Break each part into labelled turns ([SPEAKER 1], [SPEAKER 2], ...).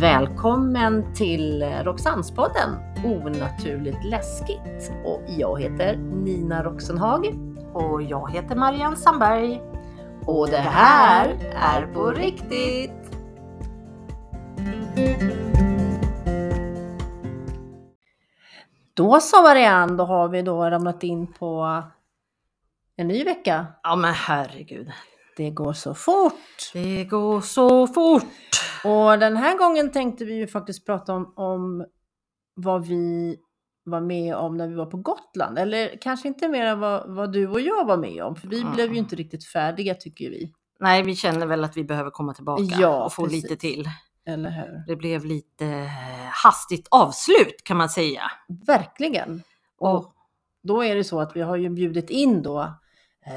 [SPEAKER 1] Välkommen till Roxannespodden Onaturligt läskigt. Och jag heter Nina Roxenhag.
[SPEAKER 2] Och jag heter Marianne Sandberg.
[SPEAKER 1] Och det här är på riktigt! Då så Marianne, då har vi då ramlat in på en ny vecka.
[SPEAKER 2] Ja men herregud.
[SPEAKER 1] Det går så fort!
[SPEAKER 2] Det går så fort.
[SPEAKER 1] Och den här gången tänkte vi ju faktiskt prata om, om vad vi var med om när vi var på Gotland. Eller kanske inte mer än vad, vad du och jag var med om, för vi
[SPEAKER 2] Mm.
[SPEAKER 1] blev ju inte riktigt färdiga tycker vi.
[SPEAKER 2] Nej, vi känner väl att vi behöver komma tillbaka
[SPEAKER 1] Ja,
[SPEAKER 2] och få
[SPEAKER 1] precis.
[SPEAKER 2] lite till.
[SPEAKER 1] Eller hur?
[SPEAKER 2] Det blev lite eh, hastigt avslut kan man säga.
[SPEAKER 1] Verkligen! Och
[SPEAKER 2] Och
[SPEAKER 1] då är det så att vi har ju bjudit in då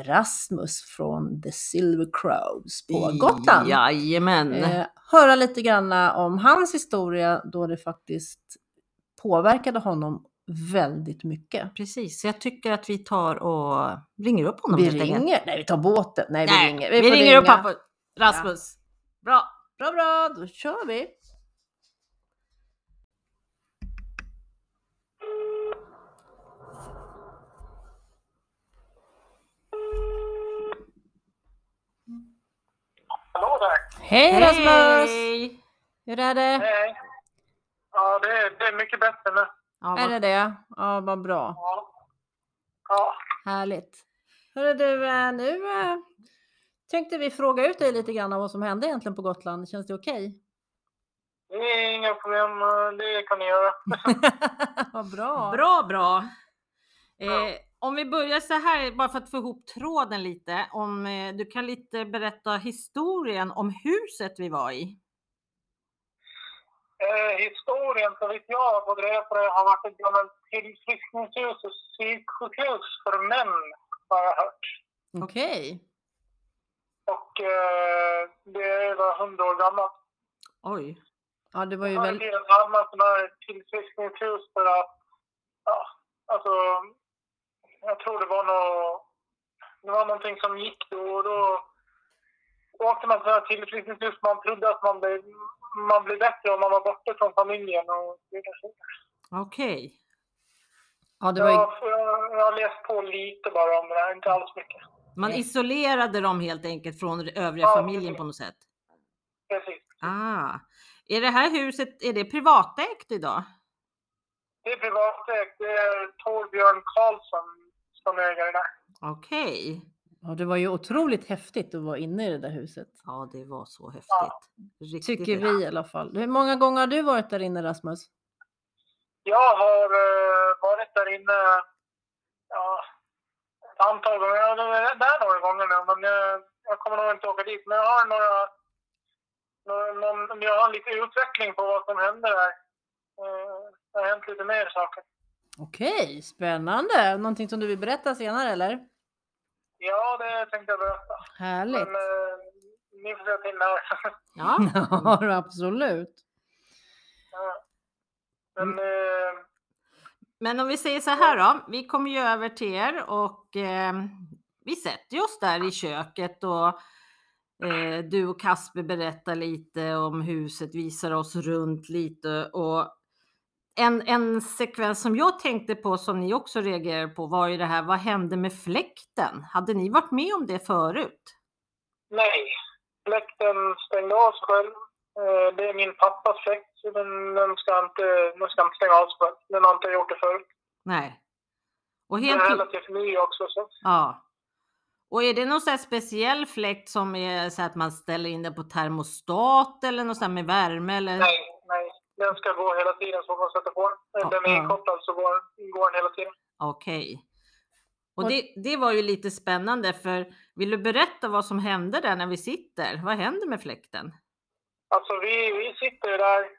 [SPEAKER 1] Rasmus från The Silver Crows på Gotland.
[SPEAKER 2] Jajamän.
[SPEAKER 1] Eh, höra lite grann om hans historia då det faktiskt påverkade honom väldigt mycket.
[SPEAKER 2] Precis, jag tycker att vi tar och ringer upp honom
[SPEAKER 1] Vi
[SPEAKER 2] helt enkelt.
[SPEAKER 1] ringer, nej vi tar båten, nej vi
[SPEAKER 2] Nej,
[SPEAKER 1] ringer.
[SPEAKER 2] vi,
[SPEAKER 1] får
[SPEAKER 2] ringer upp
[SPEAKER 1] ringa.
[SPEAKER 2] pappa Rasmus. Bra.
[SPEAKER 1] Bra, bra, då kör vi.
[SPEAKER 3] Hallå där!
[SPEAKER 1] Hej, Rasmus!
[SPEAKER 2] Hej.
[SPEAKER 1] Hur är det?
[SPEAKER 3] Hej! Ja, det är, det är mycket bättre nu.
[SPEAKER 2] Ja,
[SPEAKER 1] Är
[SPEAKER 2] vad
[SPEAKER 1] det det? Ja, vad bra.
[SPEAKER 3] Ja. Ja,
[SPEAKER 1] Härligt. Hörru du, eh, nu eh, tänkte vi fråga ut dig lite grann om vad som hände egentligen på Gotland. Känns det okej?
[SPEAKER 3] det är inga problem. Det kan ni göra.
[SPEAKER 1] vad bra.
[SPEAKER 2] Bra, bra. Eh,
[SPEAKER 3] Ja.
[SPEAKER 2] om vi börjar så här, bara för att få ihop tråden lite. Om eh, du kan lite berätta historien om huset vi var i.
[SPEAKER 3] Eh, historien, så vitt jag har fått reda på det, har varit ett gammalt tillfriskningshus och psyksjukhus för män, har jag hört.
[SPEAKER 1] Okej.
[SPEAKER 3] Och eh, det är över hundra år gammalt.
[SPEAKER 2] Oj.
[SPEAKER 1] Ja, det var ju
[SPEAKER 3] Förr i
[SPEAKER 1] väl...
[SPEAKER 3] tiden hade man sådana här tillfriskningshus för att... Ja, alltså... Jag tror det var nå Det var någonting som gick då och då åkte man till sådana här tillfriskningshus. Man trodde att man blev, man blev bättre om man var borta från familjen och så vidare.
[SPEAKER 2] Okej.
[SPEAKER 1] Ja, det var ju...
[SPEAKER 3] Jag, jag, jag har läst på lite bara om det här, inte alls mycket.
[SPEAKER 2] Man
[SPEAKER 1] Nej.
[SPEAKER 2] isolerade dem helt enkelt från den övriga
[SPEAKER 3] Ja,
[SPEAKER 2] familjen
[SPEAKER 3] precis.
[SPEAKER 2] på något sätt.
[SPEAKER 3] Precis.
[SPEAKER 2] Ah. Är det här huset, är det privatägt idag?
[SPEAKER 3] Det är privatägt. Det är Torbjörn Karlsson som äger det där.
[SPEAKER 2] Okej.
[SPEAKER 1] Ja, det var ju otroligt häftigt att vara inne i det där huset.
[SPEAKER 2] Ja, det var så häftigt.
[SPEAKER 3] Ja.
[SPEAKER 2] Riktigt
[SPEAKER 1] Tycker
[SPEAKER 2] häftigt.
[SPEAKER 1] vi i alla fall. Hur många gånger har du varit där inne Rasmus?
[SPEAKER 3] Jag har eh, varit där inne ja, ett antal gånger. Jag har varit där några gånger nu, men jag, jag kommer nog inte åka dit. Men jag har några... några någon, jag har lite utveckling på vad som hände där. Eh, det har hänt lite mer saker.
[SPEAKER 1] Okej, spännande. Någonting som du vill berätta senare eller?
[SPEAKER 3] Ja, det tänkte jag berätta.
[SPEAKER 1] Härligt.
[SPEAKER 3] Men eh, ni får se till där.
[SPEAKER 2] Ja. Mm.
[SPEAKER 1] Ja, absolut.
[SPEAKER 3] men eh,
[SPEAKER 2] Men om vi säger så här då, vi kommer ju över till er och eh, vi sätter ju oss där i köket och eh, du och Kasper berättar lite om huset, visar oss runt lite och en, en sekvens som jag tänkte på som ni också reagerade på var ju det här, vad hände med fläkten? Hade ni varit med om det förut?
[SPEAKER 3] nej. Fläkten stängde av sig själv. Eh, det är min pappas fläkt. så Den, den, ska inte, den ska inte stänga av sig själv. Den har inte gjort det förut.
[SPEAKER 2] Nej. Och
[SPEAKER 3] Den
[SPEAKER 2] helt,
[SPEAKER 3] är relativt ny också. Så.
[SPEAKER 2] Ja. Och är det någon sån här speciell fläkt som är så att man ställer in den på termostat eller något sånt med värme eller?
[SPEAKER 3] Nej, nej. Den ska gå hela tiden så man sätter på den. Den
[SPEAKER 1] Ja.
[SPEAKER 3] är inkopplad så går, går den hela tiden.
[SPEAKER 2] Okej.
[SPEAKER 1] Och-
[SPEAKER 2] Och det, det var ju lite spännande för vill du berätta vad som hände där när vi sitter? Vad händer med fläkten?
[SPEAKER 3] Alltså vi, vi sitter ju där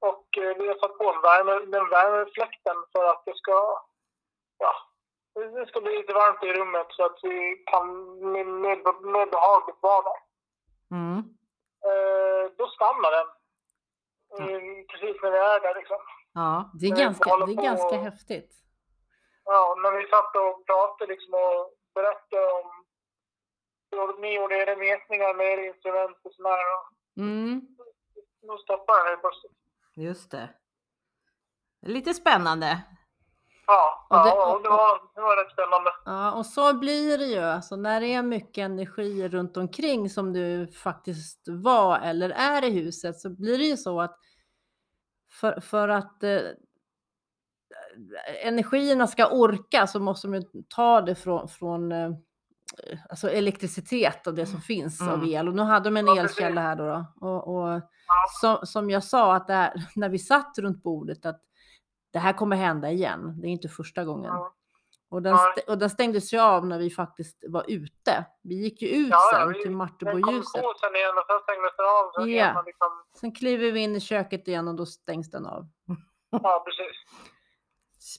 [SPEAKER 3] och eh, vi har satt på en värme, den värmefläkten för att det ska, ja, det ska bli lite varmt i rummet så att vi kan med, med, med behag vara där.
[SPEAKER 2] Mm.
[SPEAKER 3] Eh, då stannar den.
[SPEAKER 1] Mm.
[SPEAKER 3] Eh, Precis när vi är där liksom.
[SPEAKER 2] Ja,
[SPEAKER 1] Det är
[SPEAKER 3] Nej,
[SPEAKER 1] ganska,
[SPEAKER 3] hålla
[SPEAKER 1] det är
[SPEAKER 3] på
[SPEAKER 1] ganska
[SPEAKER 3] och-
[SPEAKER 1] häftigt.
[SPEAKER 3] Ja, när vi satt och pratade liksom och berättade om hur ni gjorde era mätningar med era instrument och sådär.
[SPEAKER 1] Mm.
[SPEAKER 3] nu stoppar den helt plötsligt.
[SPEAKER 2] Just det. Lite spännande.
[SPEAKER 3] Ja,
[SPEAKER 1] Och det-
[SPEAKER 3] ja och det, var, det var rätt spännande.
[SPEAKER 1] Ja, och så blir det ju. Alltså när det är mycket energi runt omkring som du faktiskt var eller är i huset så blir det ju så att för, för att eh, energierna ska orka så måste de ju ta det från, från eh, alltså elektricitet och det som finns av
[SPEAKER 2] Mm.
[SPEAKER 1] el. Och nu hade de en
[SPEAKER 3] Ja, precis.
[SPEAKER 1] elkälla här då. då. Och, och som, som jag sa, att det här, när vi satt runt bordet, att det här kommer hända igen. Det är inte första gången.
[SPEAKER 3] Ja.
[SPEAKER 1] Och den,
[SPEAKER 3] Nej.
[SPEAKER 1] st- och den stängdes ju av när vi faktiskt var ute. Vi gick ju ut
[SPEAKER 3] Ja, ja,
[SPEAKER 1] sen
[SPEAKER 3] vi-
[SPEAKER 1] till
[SPEAKER 3] Den kom
[SPEAKER 1] Marteboljuset.
[SPEAKER 3] på sen igen och sen stängdes den av. Så
[SPEAKER 1] Ja.
[SPEAKER 3] yeah. man liksom,
[SPEAKER 1] Sen kliver vi in i köket igen och då stängs den av.
[SPEAKER 3] ja, precis.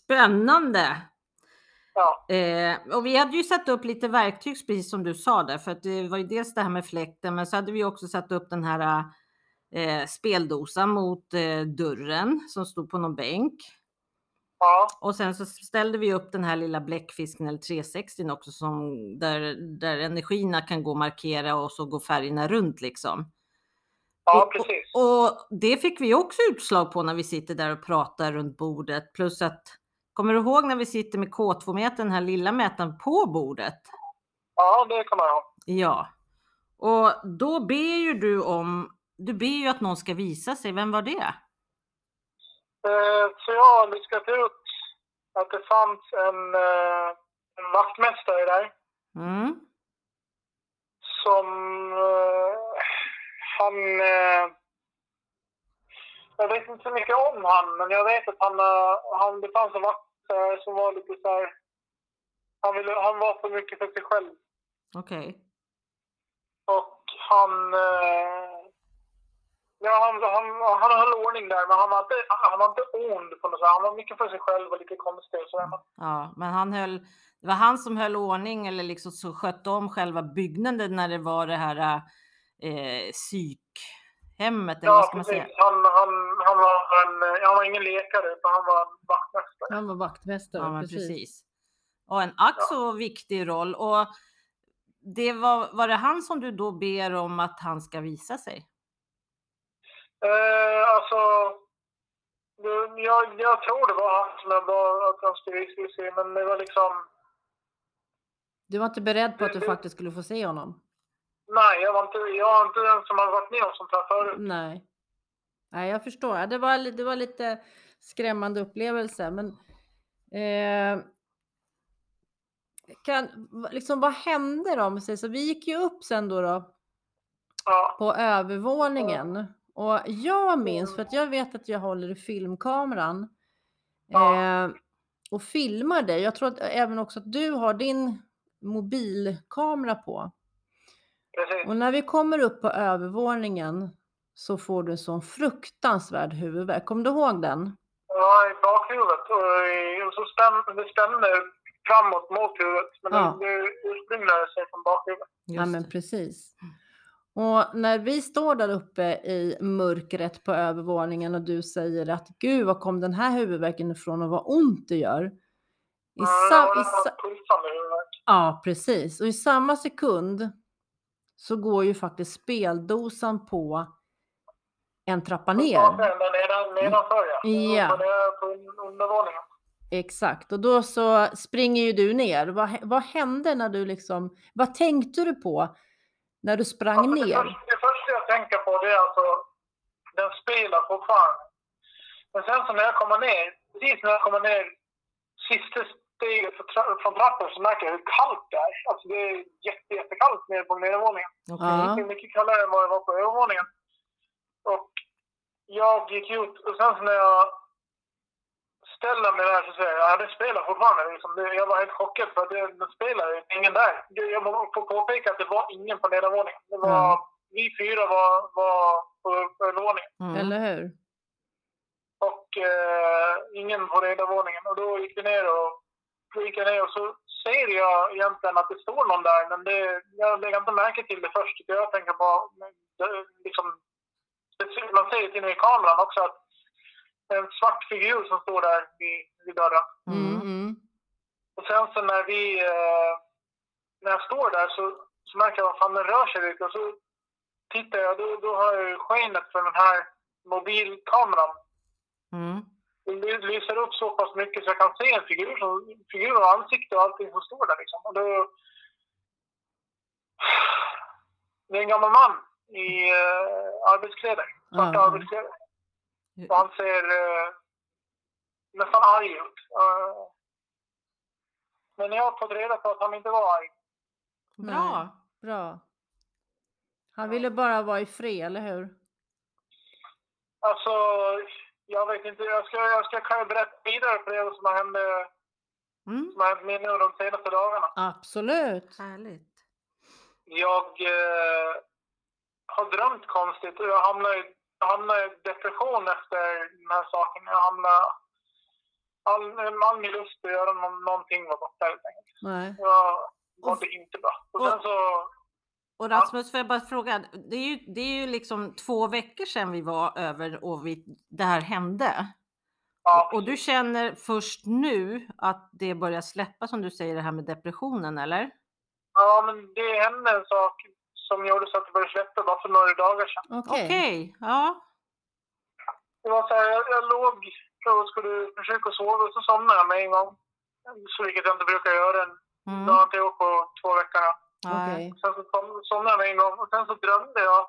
[SPEAKER 2] Spännande!
[SPEAKER 3] Ja,
[SPEAKER 2] Eh, och vi hade ju satt upp lite verktyg precis som du sa där, för att det var ju dels det här med fläkten, men så hade vi också satt upp den här eh, speldosan mot eh, dörren som stod på någon bänk.
[SPEAKER 3] ja,
[SPEAKER 2] Och sen så ställde vi upp den här lilla bläckfisken eller 360 också som där, där energierna kan gå och markera och så går färgerna runt liksom.
[SPEAKER 3] ja
[SPEAKER 2] Och-
[SPEAKER 3] precis.
[SPEAKER 2] Och det fick vi också utslag på när vi sitter där och pratar runt bordet. Plus att, kommer du ihåg när vi sitter med K2-mätaren, den här lilla mätaren på bordet?
[SPEAKER 3] Ja, det kommer jag ihåg.
[SPEAKER 2] Ja. Och då ber ju du om, du ber ju att någon ska visa sig. Vem var det?
[SPEAKER 3] Eh, Så jag har lyckats ut att det fanns en, eh, en vaktmästare där
[SPEAKER 2] Mm.
[SPEAKER 3] som eh, han... eh, Jag vet inte så mycket om han, men jag vet att han, eh, han det fanns en vaktmästare som var lite så här... Han, ville, han var för mycket för sig själv.
[SPEAKER 2] Okej.
[SPEAKER 3] Och han... eh, Ja, han, han, han höll ordning där, men han var inte, han var inte ond på något sätt. Han var mycket för sig själv och lite konstig och sådär.
[SPEAKER 2] Ja, men han höll, det var han som höll ordning eller liksom så skötte om själva byggnaden när det var det här eh, psykhemmet. Eller vad
[SPEAKER 3] Ja,
[SPEAKER 2] ska man
[SPEAKER 3] precis.
[SPEAKER 2] säga?
[SPEAKER 3] Han, han, han, var en, han var ingen lekare, utan han var en vaktmästare.
[SPEAKER 1] Han var vaktmästare.
[SPEAKER 2] Ja, men
[SPEAKER 1] precis.
[SPEAKER 2] precis. Och en ack så viktig roll. Och det var, var det han som du då ber om att han ska visa sig?
[SPEAKER 3] Eh, alltså, det- jag, jag tror det var han som jag bad att han skulle skulle se, men det var liksom...
[SPEAKER 1] Du var inte beredd på att du faktiskt skulle få se honom?
[SPEAKER 3] Nej, jag var inte, jag var inte den som hade varit med om sånt här förut.
[SPEAKER 1] Nej. Nej, jag förstår. Ja, Det var, li- det var lite skrämmande upplevelse, men eh, kan, va- liksom, vad hände då? om man säger Så vi gick ju upp sen då, då
[SPEAKER 3] Ja,
[SPEAKER 1] på övervåningen. Och jag minns, för att jag vet att jag håller i filmkameran
[SPEAKER 3] Ja.
[SPEAKER 1] eh, och filmar dig. Jag tror att även också att du har din mobilkamera på.
[SPEAKER 3] precis.
[SPEAKER 1] Och när vi kommer upp på övervåningen så får du en sån fruktansvärd huvudvärk. Kommer du ihåg den?
[SPEAKER 3] Ja, i bakhuvudet. Och, i- och så stäm, det stämde framåt mot huvudet, men
[SPEAKER 1] Ja.
[SPEAKER 3] det, det ursprunglade sig från bakhuvudet.
[SPEAKER 1] ja, men precis. Och när vi står där uppe i mörkret på övervåningen och du säger att gud, var kom den här huvudvärken ifrån och vad ont det gör. I
[SPEAKER 3] ja,
[SPEAKER 1] sa-
[SPEAKER 3] Eh, det
[SPEAKER 1] i sa-
[SPEAKER 3] var pulsande huvudvärk.
[SPEAKER 1] ja, precis. Och i samma sekund så går ju faktiskt speldosan på en trappa
[SPEAKER 3] Ja,
[SPEAKER 1] ner.
[SPEAKER 3] den nedan, nedanför ja.
[SPEAKER 1] Ja.
[SPEAKER 3] Den är på un- undervåningen.
[SPEAKER 1] Exakt, och då så springer ju du ner. Vad, hä- vad hände när du liksom, vad tänkte du på när du sprang
[SPEAKER 3] Alltså, det,
[SPEAKER 1] ner?
[SPEAKER 3] första, det första jag tänker på det är alltså, den spelar fortfarande. Men sen så när jag kommer ner, precis när jag kommer ner sista steget från tra- från trappan så märker jag hur kallt det är. Alltså det är jätte, jättekallt nere på nedervåningen.
[SPEAKER 2] Okej.
[SPEAKER 1] Ja.
[SPEAKER 3] Det är mycket kallare än vad det var på övervåningen. Och jag gick ut och sen så när jag ställer mig där så säger jag ja det spelar fortfarande. Liksom. Det- Jag var helt chockad för att det, det spelar ju ingen där. Det- Jag får påpeka att det var ingen på nedervåningen. Det var,
[SPEAKER 1] Mm.
[SPEAKER 3] Vi fyra var, var på övervåningen
[SPEAKER 2] Mm.
[SPEAKER 1] Eller hur?
[SPEAKER 3] och eh, ingen på nedervåningen. Och då gick vi ner och då gick jag ner och så ser jag egentligen att det står någon där men det, jag lägger inte märke till det först. utan Jag tänker bara, men det- liksom, det ser- man ser ju till och med i kameran också att det är en svart figur som står där vid, vid dörren.
[SPEAKER 1] Mm.
[SPEAKER 2] Mm.
[SPEAKER 1] Mm.
[SPEAKER 3] Och sen så när vi... Eh, när jag står där så, så märker jag att fan den rör sig lite och så tittar jag då, då har jag ju skenet från den här mobilkameran
[SPEAKER 2] Mm.
[SPEAKER 3] det lyser upp så pass mycket så jag kan se en figur, som, figur och ansikte och allting som står där. Liksom. Och det, det är en gammal man i eh, arbetskläder, svarta
[SPEAKER 1] Ja.
[SPEAKER 3] arbetskläder. Och han ser eh, nästan arg ut. Eh, men jag har fått reda på att han inte var arg.
[SPEAKER 1] Nej,
[SPEAKER 2] Bra.
[SPEAKER 1] Bra. Han ville bara vara i fred, eller hur?
[SPEAKER 3] Alltså, jag vet inte. Jag ska, jag ska kan ju berätta vidare på det som har hänt, eh,
[SPEAKER 2] Mm.
[SPEAKER 3] som har hänt mig nu de senaste dagarna.
[SPEAKER 1] Absolut.
[SPEAKER 2] Härligt.
[SPEAKER 3] jag eh, har drömt konstigt och jag hamnade i, jag hamnade i depression efter den här saken. Jag hamnade... All, all min lust att göra någon, någonting var borta helt enkelt.
[SPEAKER 1] Nej.
[SPEAKER 3] Jag mådde
[SPEAKER 2] Och-
[SPEAKER 3] inte bra. Och sen
[SPEAKER 2] och-
[SPEAKER 3] så...
[SPEAKER 2] Och Rasmus, får jag bara fråga, det är, ju, det är ju liksom två veckor sedan vi var över och vi, det här hände.
[SPEAKER 3] Ja,
[SPEAKER 2] Och du känner först nu att det börjar släppa som du säger det här med depressionen eller?
[SPEAKER 3] ja, men det hände en sak som gjorde så att det började släppa bara för några dagar sedan.
[SPEAKER 1] Okej.
[SPEAKER 2] Okej, ja.
[SPEAKER 3] Det var så här, jag, jag låg och skulle försöka sova och så somnade jag med en gång. Så vilket jag inte brukar göra.
[SPEAKER 2] Mm.
[SPEAKER 3] Det har jag inte gjort på två veckor. nu.
[SPEAKER 2] Nej.
[SPEAKER 1] Okej.
[SPEAKER 3] Sen så som- somnade jag en gång och sen så drömde jag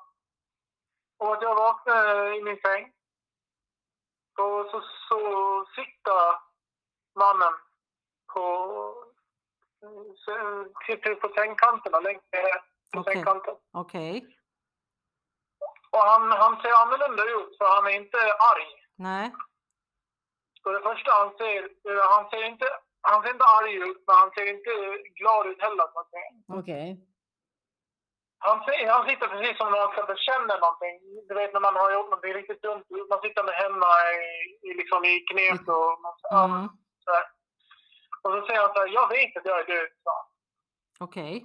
[SPEAKER 3] om att jag vaknade i min säng. Och så, så sitter mannen på, så- sitter på sängkanterna, längst ner på
[SPEAKER 2] Okej.
[SPEAKER 3] sängkanten.
[SPEAKER 2] Okej,
[SPEAKER 3] Och han, han ser annorlunda ut för han är inte arg.
[SPEAKER 2] nej.
[SPEAKER 3] Så det första han ser, eh, han ser inte, han ser inte arg ut men han ser inte glad ut heller. så att säga.
[SPEAKER 1] Okej.
[SPEAKER 3] Han, ser- han sitter precis som när han ska bekänna någonting. Du vet när man har gjort någonting riktigt dumt. Man sitter med händerna i, i, liksom i knät och, man,
[SPEAKER 2] Mm.
[SPEAKER 3] och så säger han så här, jag vet att jag är död. sa han.
[SPEAKER 2] Okej,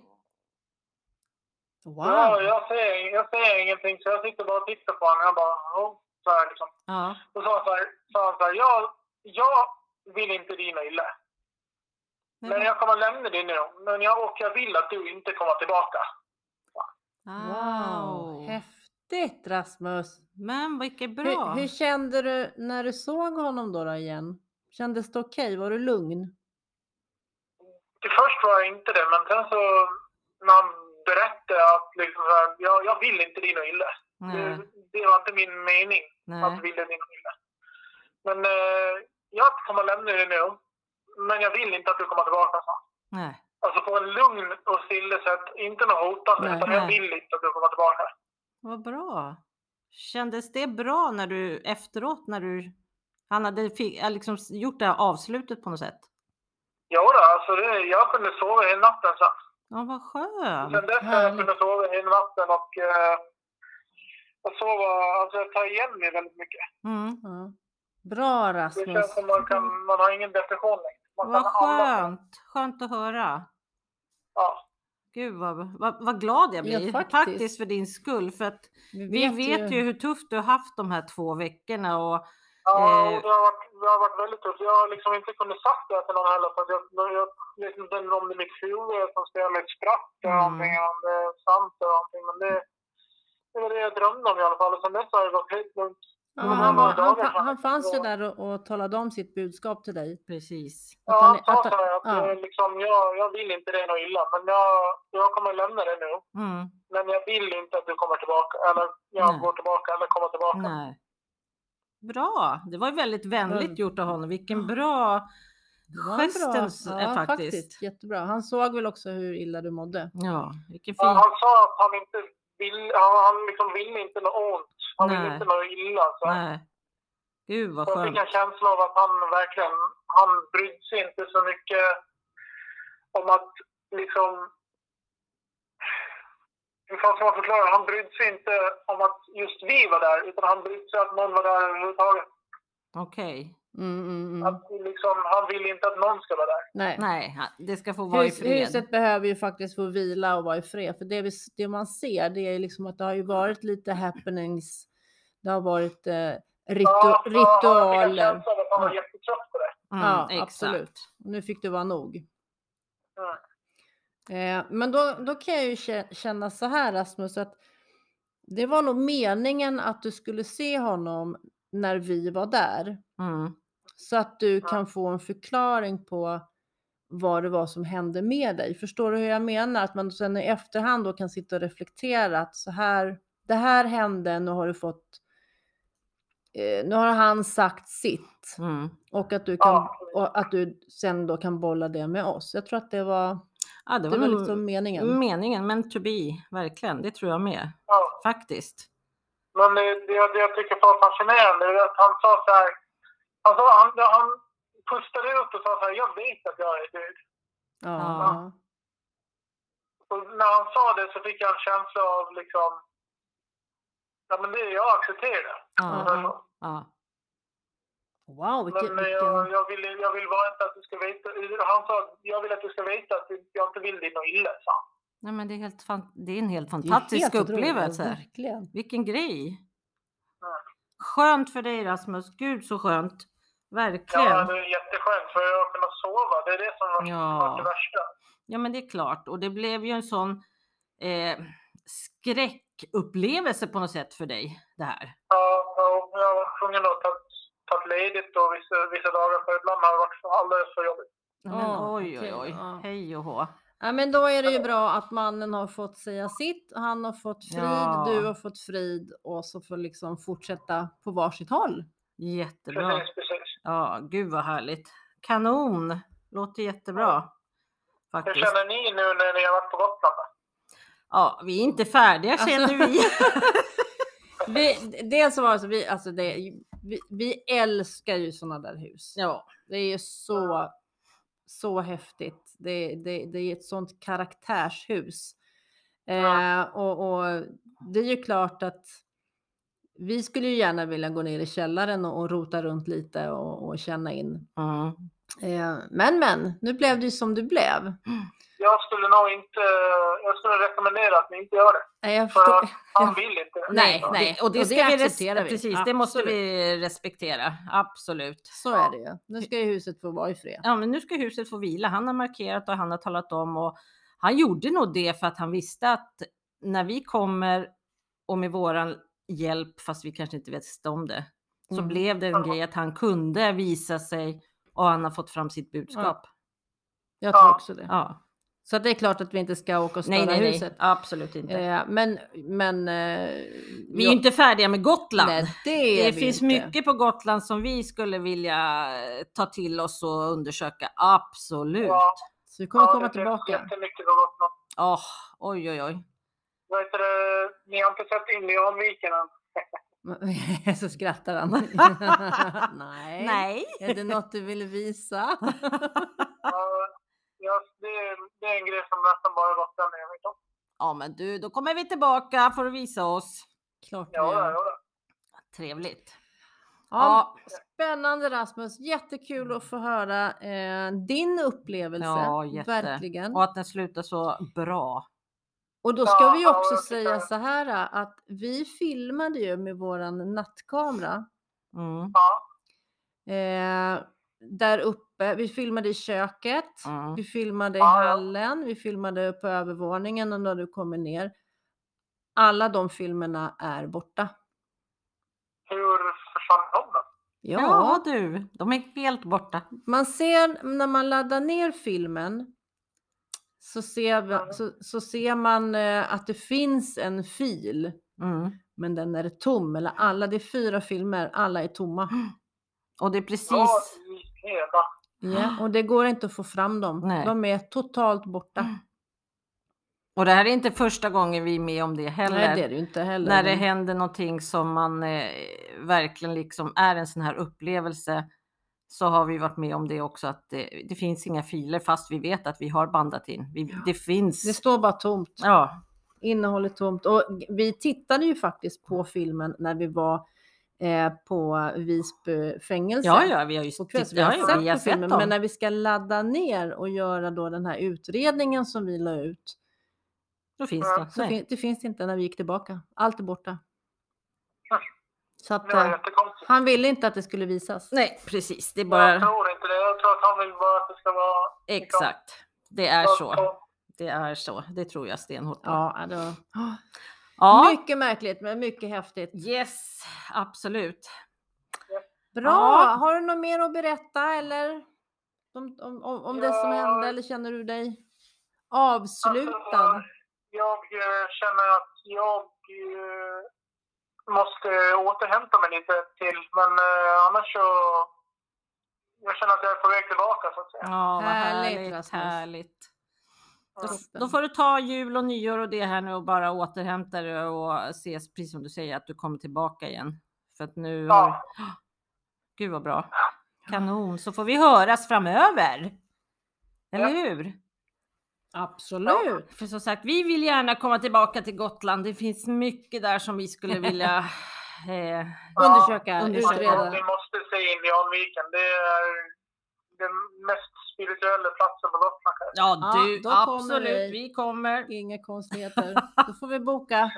[SPEAKER 3] Ja,
[SPEAKER 1] Wow.
[SPEAKER 3] jag, ser, jag ser ingenting så jag sitter bara och tittar på honom. Jag bara, "Ja", så här liksom.
[SPEAKER 2] ja.
[SPEAKER 3] Då sa han så här, sa han så här jag, jag vill inte dina illa.
[SPEAKER 2] Nej,
[SPEAKER 3] Men jag kommer lämna dig nu. Men jag, och jag vill att du inte kommer tillbaka.
[SPEAKER 1] Wow.
[SPEAKER 2] Wow.
[SPEAKER 1] Häftigt Rasmus.
[SPEAKER 2] Men vilket bra.
[SPEAKER 1] Hur, hur kände du när du såg honom då, då igen? Kändes det okej? Var du lugn?
[SPEAKER 3] Till först var jag inte det, men sen så när han berättade att liksom, så här, jag, jag vill inte dina illa.
[SPEAKER 2] nej,
[SPEAKER 3] Det, det var inte min mening
[SPEAKER 2] nej.
[SPEAKER 3] att vilja dina illa. Men eh, jag kommer lämna dig nu, men jag vill inte att du kommer tillbaka. sa han.
[SPEAKER 2] nej.
[SPEAKER 3] Alltså på en lugn och stille sätt, inte något hotande,
[SPEAKER 1] Nej,
[SPEAKER 3] utan jag
[SPEAKER 2] nej.
[SPEAKER 3] vill inte att du kommer tillbaka.
[SPEAKER 2] Vad bra. Kändes det bra när du efteråt när du han hade fi- ja, liksom s- gjort det här avslutet på något sätt?
[SPEAKER 3] Jo då, alltså det, jag kunde sova hela natten sen.
[SPEAKER 2] Ja, vad skönt.
[SPEAKER 3] Sen dess har jag
[SPEAKER 1] härligt.
[SPEAKER 3] kunnat sova hela natten och eh, jag sover, alltså jag tar igen mig väldigt mycket.
[SPEAKER 2] Mm.
[SPEAKER 1] Ja. Bra
[SPEAKER 3] Det
[SPEAKER 1] Rasmus.
[SPEAKER 3] känns som man kan, man har ingen depression längre. Man
[SPEAKER 2] Vad
[SPEAKER 3] kan andas.
[SPEAKER 2] skönt. Skönt att höra.
[SPEAKER 3] Ja.
[SPEAKER 2] Gud vad, vad, vad glad jag
[SPEAKER 1] Ja,
[SPEAKER 2] blir
[SPEAKER 1] faktiskt.
[SPEAKER 2] faktiskt för din skull. För att vi vet ju hur tufft du har haft de här två veckorna och
[SPEAKER 3] Ja,
[SPEAKER 2] Eh.
[SPEAKER 3] och det har, varit, det har varit väldigt tufft. Jag har liksom inte kunnat sagt det till någon heller för att jag, jag vet inte om det är mitt huvud som spelar ett spratt eller
[SPEAKER 2] Mm.
[SPEAKER 3] någonting, eller om det är sant eller någonting. Men det, det var det jag drömde om i alla fall. Och sen dess har det gått helt lugnt.
[SPEAKER 1] Ja,
[SPEAKER 2] Mm.
[SPEAKER 1] han, var, han,
[SPEAKER 3] Mm.
[SPEAKER 1] fa- han fanns ju där och, och talade om sitt budskap till dig.
[SPEAKER 2] precis.
[SPEAKER 3] Ja,
[SPEAKER 1] han är-
[SPEAKER 3] han sa
[SPEAKER 1] att
[SPEAKER 3] så här att
[SPEAKER 1] han- ja.
[SPEAKER 3] eh, liksom, jag, jag vill inte dig något illa, men jag, jag kommer lämna dig nu.
[SPEAKER 2] Mm.
[SPEAKER 3] Men jag vill inte att du kommer tillbaka, eller jag
[SPEAKER 2] Nej.
[SPEAKER 3] går tillbaka, eller kommer tillbaka.
[SPEAKER 2] Nej. Bra. Det var ju väldigt vänligt gjort av honom. Vilken bra
[SPEAKER 1] Det var en bra-
[SPEAKER 2] gestens eh, faktiskt.
[SPEAKER 1] Jättebra. Han såg väl också hur illa du mådde.
[SPEAKER 2] Ja, vilken
[SPEAKER 3] Ja,
[SPEAKER 2] fin.
[SPEAKER 3] han sa att han inte vill, han, han liksom ville inte något ont. Han
[SPEAKER 2] Nej.
[SPEAKER 3] ville inte något illa. Så.
[SPEAKER 1] alltså.
[SPEAKER 2] Nej. Gud vad
[SPEAKER 3] Jag
[SPEAKER 2] skönt.
[SPEAKER 3] fick en känsla av att han verkligen, han brydde sig inte så mycket om att liksom... Hur fan ska man förklara? Han brydde sig inte om att just vi var där, utan han brydde sig att någon var där överhuvudtaget.
[SPEAKER 2] Okej.
[SPEAKER 1] Mm, mm, mm.
[SPEAKER 3] Att liksom, han vill inte att någon ska vara där.
[SPEAKER 1] Nej.
[SPEAKER 2] Nej, ha- det ska få vara i
[SPEAKER 1] Hus,
[SPEAKER 2] fred.
[SPEAKER 1] huset behöver ju faktiskt få vila och vara i fred. För det, vi, s- det man ser det är ju liksom att det har ju varit lite happenings. Det har varit eh, ritu-
[SPEAKER 3] Ja, jag fick en
[SPEAKER 1] ritualer.
[SPEAKER 3] känsla av att han var
[SPEAKER 1] Ja.
[SPEAKER 3] jättetrött på det.
[SPEAKER 2] Mm,
[SPEAKER 1] Ja,
[SPEAKER 2] exakt.
[SPEAKER 1] absolut. Nu fick det vara nog.
[SPEAKER 3] Mm.
[SPEAKER 1] Eh, men då, då kan jag ju kä- känna så här Rasmus att Det var nog meningen att du skulle se honom när vi var där.
[SPEAKER 2] Mm.
[SPEAKER 1] Så att du kan få en förklaring på vad det var som hände med dig. Förstår du hur jag menar? Att man sen i efterhand då kan sitta och reflektera att så här, det här hände, nu har du fått, eh, nu har han sagt sitt.
[SPEAKER 2] Mm.
[SPEAKER 1] Och att du, kan,
[SPEAKER 3] Ja.
[SPEAKER 1] och att du sen då kan bolla det med oss. Jag tror att det var,
[SPEAKER 2] Ja, det
[SPEAKER 1] det
[SPEAKER 2] var,
[SPEAKER 1] var
[SPEAKER 2] nog
[SPEAKER 1] liksom meningen.
[SPEAKER 2] meningen, men to be, verkligen. Det tror jag med,
[SPEAKER 3] Ja.
[SPEAKER 2] faktiskt.
[SPEAKER 3] Men det, det, det jag tycker var fascinerande är att han sa så här. Han, sa, han, han pustade ut och sa så här. Jag vet att jag är Gud.
[SPEAKER 1] Ja.
[SPEAKER 3] Och när han sa det så fick jag en känsla av liksom. Ja men det, jag accepterar Alltså,
[SPEAKER 1] Ja.
[SPEAKER 2] Ja,
[SPEAKER 3] det. Så.
[SPEAKER 2] ja.
[SPEAKER 1] Wow, vilken,
[SPEAKER 3] Men eh, jag,
[SPEAKER 1] vilken...
[SPEAKER 3] jag, vill, jag vill bara inte att du ska veta. Han sa att jag vill att du ska veta att jag inte vill dig något illa. Sa han.
[SPEAKER 2] Nej, men det, är helt fan... det är en helt
[SPEAKER 1] det är
[SPEAKER 2] fantastisk
[SPEAKER 1] helt otroligt,
[SPEAKER 2] upplevelse.
[SPEAKER 1] Verkligen.
[SPEAKER 2] Vilken grej!
[SPEAKER 3] Ja.
[SPEAKER 2] Skönt för dig Rasmus, gud så skönt. Verkligen.
[SPEAKER 3] Ja,
[SPEAKER 2] Ja,
[SPEAKER 3] det är jätteskönt för jag har kunnat sova. Det är det som var
[SPEAKER 2] Ja.
[SPEAKER 3] var det värsta.
[SPEAKER 2] men det är klart. Och det blev ju en sån eh, skräckupplevelse på något sätt för dig det här.
[SPEAKER 3] Ja, ja, jag var tvungen att ta, ta ledigt och vissa, vissa dagar för ibland har det varit så- alldeles för jobbigt.
[SPEAKER 2] Men,
[SPEAKER 1] Ja,
[SPEAKER 2] oj,
[SPEAKER 1] okej,
[SPEAKER 2] oj, oj.
[SPEAKER 1] ja.
[SPEAKER 2] Hej och hå.
[SPEAKER 1] Ja, men då är det ju bra att mannen har fått säga sitt, han har fått frid,
[SPEAKER 2] Ja.
[SPEAKER 1] du har fått frid och så får liksom fortsätta på varsitt håll.
[SPEAKER 2] Jättebra.
[SPEAKER 3] Precis, precis.
[SPEAKER 2] Ja, gud vad härligt. Kanon! Låter jättebra.
[SPEAKER 3] Hur
[SPEAKER 2] Faktiskt.
[SPEAKER 3] känner ni nu när ni har varit på Gotland? då?
[SPEAKER 2] Ja, vi är inte färdiga
[SPEAKER 1] Alltså-
[SPEAKER 2] känner vi.
[SPEAKER 1] Vi, dels så var det så, vi, alltså det, vi, vi älskar ju sådana där hus.
[SPEAKER 2] ja,
[SPEAKER 1] Det är så, så häftigt. Det, det, det är ett sånt karaktärshus. Eh, och, och det är ju klart att vi skulle ju gärna vilja gå ner i källaren och, och rota runt lite och, och känna in.
[SPEAKER 2] mm.
[SPEAKER 1] Eh, men men, nu blev det ju som det blev.
[SPEAKER 3] Jag skulle nog inte... Jag skulle rekommendera att ni inte gör det.
[SPEAKER 1] Nej, Eh, jag
[SPEAKER 3] För
[SPEAKER 1] förstår.
[SPEAKER 3] att han vill inte.
[SPEAKER 1] Nej,
[SPEAKER 2] Ja,
[SPEAKER 1] nej.
[SPEAKER 2] det- Och det,
[SPEAKER 1] Och det
[SPEAKER 2] ska vi res-
[SPEAKER 1] accepterar vi.
[SPEAKER 2] Precis, det måste vi respektera. Absolut.
[SPEAKER 1] Så är det ju. Nu ska ju huset få vara i fred.
[SPEAKER 2] Ja, men nu ska huset få vila. Han har markerat och han har talat om och han gjorde nog det för att han visste att när vi kommer och med våran hjälp, fast vi kanske inte visste om det, så
[SPEAKER 1] Mm.
[SPEAKER 2] blev det en grej att han kunde visa sig och han har fått fram sitt budskap.
[SPEAKER 1] Jag
[SPEAKER 3] Ja.
[SPEAKER 1] tror också
[SPEAKER 2] Ja,
[SPEAKER 1] det. Så att det är klart att vi inte ska åka och störa
[SPEAKER 2] nej, nej, nej,
[SPEAKER 1] huset.
[SPEAKER 2] absolut inte.
[SPEAKER 1] Eh, men, men... Eh,
[SPEAKER 2] vi är ju inte färdiga med Gotland.
[SPEAKER 1] Nej, det
[SPEAKER 2] Det,
[SPEAKER 1] är vi
[SPEAKER 2] finns
[SPEAKER 1] inte.
[SPEAKER 2] mycket på Gotland som vi skulle vilja eh, ta till oss och undersöka. Absolut.
[SPEAKER 3] Ja,
[SPEAKER 1] Så vi kommer
[SPEAKER 3] ja,
[SPEAKER 1] komma
[SPEAKER 3] det finns
[SPEAKER 1] tillbaka.
[SPEAKER 3] jättemycket på Gotland.
[SPEAKER 2] Åh, oj, oj, oj.
[SPEAKER 3] Vad heter det? Ni har inte sett Indianviken än?
[SPEAKER 1] Så skrattar han. Nej.
[SPEAKER 2] Nej.
[SPEAKER 1] Är det något du vill visa?
[SPEAKER 3] Ja, ja, det, är- det är en grej som nästan bara gotlänningar vet om.
[SPEAKER 2] Ja, men du, då kommer vi tillbaka för att visa oss.
[SPEAKER 1] Klart vi
[SPEAKER 3] Ja,
[SPEAKER 2] Mm.
[SPEAKER 1] gör.
[SPEAKER 3] ja, ja.
[SPEAKER 2] Trevligt.
[SPEAKER 1] Ja, Spännande Rasmus, jättekul
[SPEAKER 3] Mm.
[SPEAKER 1] att få höra eh, din upplevelse.
[SPEAKER 2] Ja, jätte.
[SPEAKER 1] Verkligen.
[SPEAKER 2] Och att den slutar så bra.
[SPEAKER 1] Och då ska vi ju
[SPEAKER 3] Ja,
[SPEAKER 1] också
[SPEAKER 3] jag tycker-
[SPEAKER 1] säga så här att vi filmade ju med våran nattkamera
[SPEAKER 2] Mm,
[SPEAKER 3] ja.
[SPEAKER 1] eh, där uppe. Vi filmade i köket,
[SPEAKER 2] Mm.
[SPEAKER 1] vi filmade i
[SPEAKER 3] Ja, ja.
[SPEAKER 1] hallen, vi filmade på övervåningen och när du kommer ner. Alla de filmerna är borta.
[SPEAKER 3] Hur försvann de då?
[SPEAKER 1] Ja,
[SPEAKER 2] Ja. du, de är helt borta.
[SPEAKER 1] man ser när man laddar ner filmen så ser, va- så, så ser man eh, att det finns en fil,
[SPEAKER 2] Mm.
[SPEAKER 1] men den är tom. Eller alla, det är fyra filmer, alla är tomma.
[SPEAKER 2] Och det är precis.
[SPEAKER 3] Ja, i hela.
[SPEAKER 1] Ja, och det går inte att få fram dem.
[SPEAKER 2] Nej. Mm.
[SPEAKER 1] De är totalt borta.
[SPEAKER 2] Och det här är inte första gången vi är med om det heller.
[SPEAKER 1] Nej, det är det ju inte heller.
[SPEAKER 2] När det händer någonting som man eh, verkligen liksom är en sån här upplevelse så har vi varit med om det också att det, det finns inga filer fast vi vet att vi har bandat in. Vi, det finns.
[SPEAKER 1] Det står bara tomt.
[SPEAKER 2] ja.
[SPEAKER 1] Innehållet tomt. Och vi tittade ju faktiskt på
[SPEAKER 2] Mm.
[SPEAKER 1] filmen när vi var eh, på Visby fängelse.
[SPEAKER 2] ja, ja, vi har ju
[SPEAKER 1] på
[SPEAKER 2] titt-
[SPEAKER 1] kväll. Vi har
[SPEAKER 2] ja, ja,
[SPEAKER 1] sett,
[SPEAKER 2] vi har
[SPEAKER 1] på filmen,
[SPEAKER 2] dem.
[SPEAKER 1] men när vi ska ladda ner och göra då den här utredningen som vi la ut,
[SPEAKER 2] Då finns
[SPEAKER 3] Ja,
[SPEAKER 2] det.
[SPEAKER 1] så
[SPEAKER 2] Nej.
[SPEAKER 1] fin- det finns inte när vi gick tillbaka. Allt är borta.
[SPEAKER 3] Ja.
[SPEAKER 1] Så att,
[SPEAKER 3] Ah. Det var
[SPEAKER 1] eh,
[SPEAKER 3] jättekonstigt.
[SPEAKER 1] han ville inte att det skulle visas.
[SPEAKER 2] Nej, precis. Det är
[SPEAKER 3] Jag
[SPEAKER 2] bara
[SPEAKER 3] tror inte det. Jag tror att han vill bara att det ska vara...
[SPEAKER 2] exakt. Det är
[SPEAKER 3] vara
[SPEAKER 2] så.
[SPEAKER 3] tomt.
[SPEAKER 2] Det är så. Det tror jag stenhårt på.
[SPEAKER 1] Ja, det var...
[SPEAKER 2] Ja,
[SPEAKER 1] Mycket märkligt men mycket häftigt.
[SPEAKER 2] yes, absolut.
[SPEAKER 1] Bra!
[SPEAKER 2] Ja.
[SPEAKER 1] Har du något mer att berätta eller? Om, om, om, om det som
[SPEAKER 3] Ja.
[SPEAKER 1] hände eller känner du dig avslutad?
[SPEAKER 3] Alltså, jag eh, känner att jag eh, måste återhämta mig lite till. Men eh, annars så... Jag känner att jag är på väg tillbaka så att säga.
[SPEAKER 2] Ja, vad
[SPEAKER 1] Härligt,
[SPEAKER 2] härligt,
[SPEAKER 1] Rasmus.
[SPEAKER 2] härligt.
[SPEAKER 3] Mm.
[SPEAKER 2] Då får du ta jul och nyår och det här nu och bara återhämta dig och ses precis som du säger att du kommer tillbaka igen. För att nu har...
[SPEAKER 3] Ja.
[SPEAKER 2] Gud vad bra. Kanon, så får vi höras framöver. Eller
[SPEAKER 3] Ja.
[SPEAKER 2] hur?
[SPEAKER 1] Absolut!
[SPEAKER 2] För som sagt, vi vill gärna komma tillbaka till Gotland. Det finns mycket där som vi skulle vilja... Eh,
[SPEAKER 1] Undersöka,
[SPEAKER 2] undersöka.
[SPEAKER 1] utreda.
[SPEAKER 3] Vi måste se Indianviken. Det är den mest spirituella platsen på Gotland. kanske.
[SPEAKER 2] ja,
[SPEAKER 1] Ja,
[SPEAKER 2] du,
[SPEAKER 1] då kommer
[SPEAKER 2] absolut.
[SPEAKER 1] vi.
[SPEAKER 2] vi. kommer.
[SPEAKER 1] Inga konstigheter. Då får vi boka.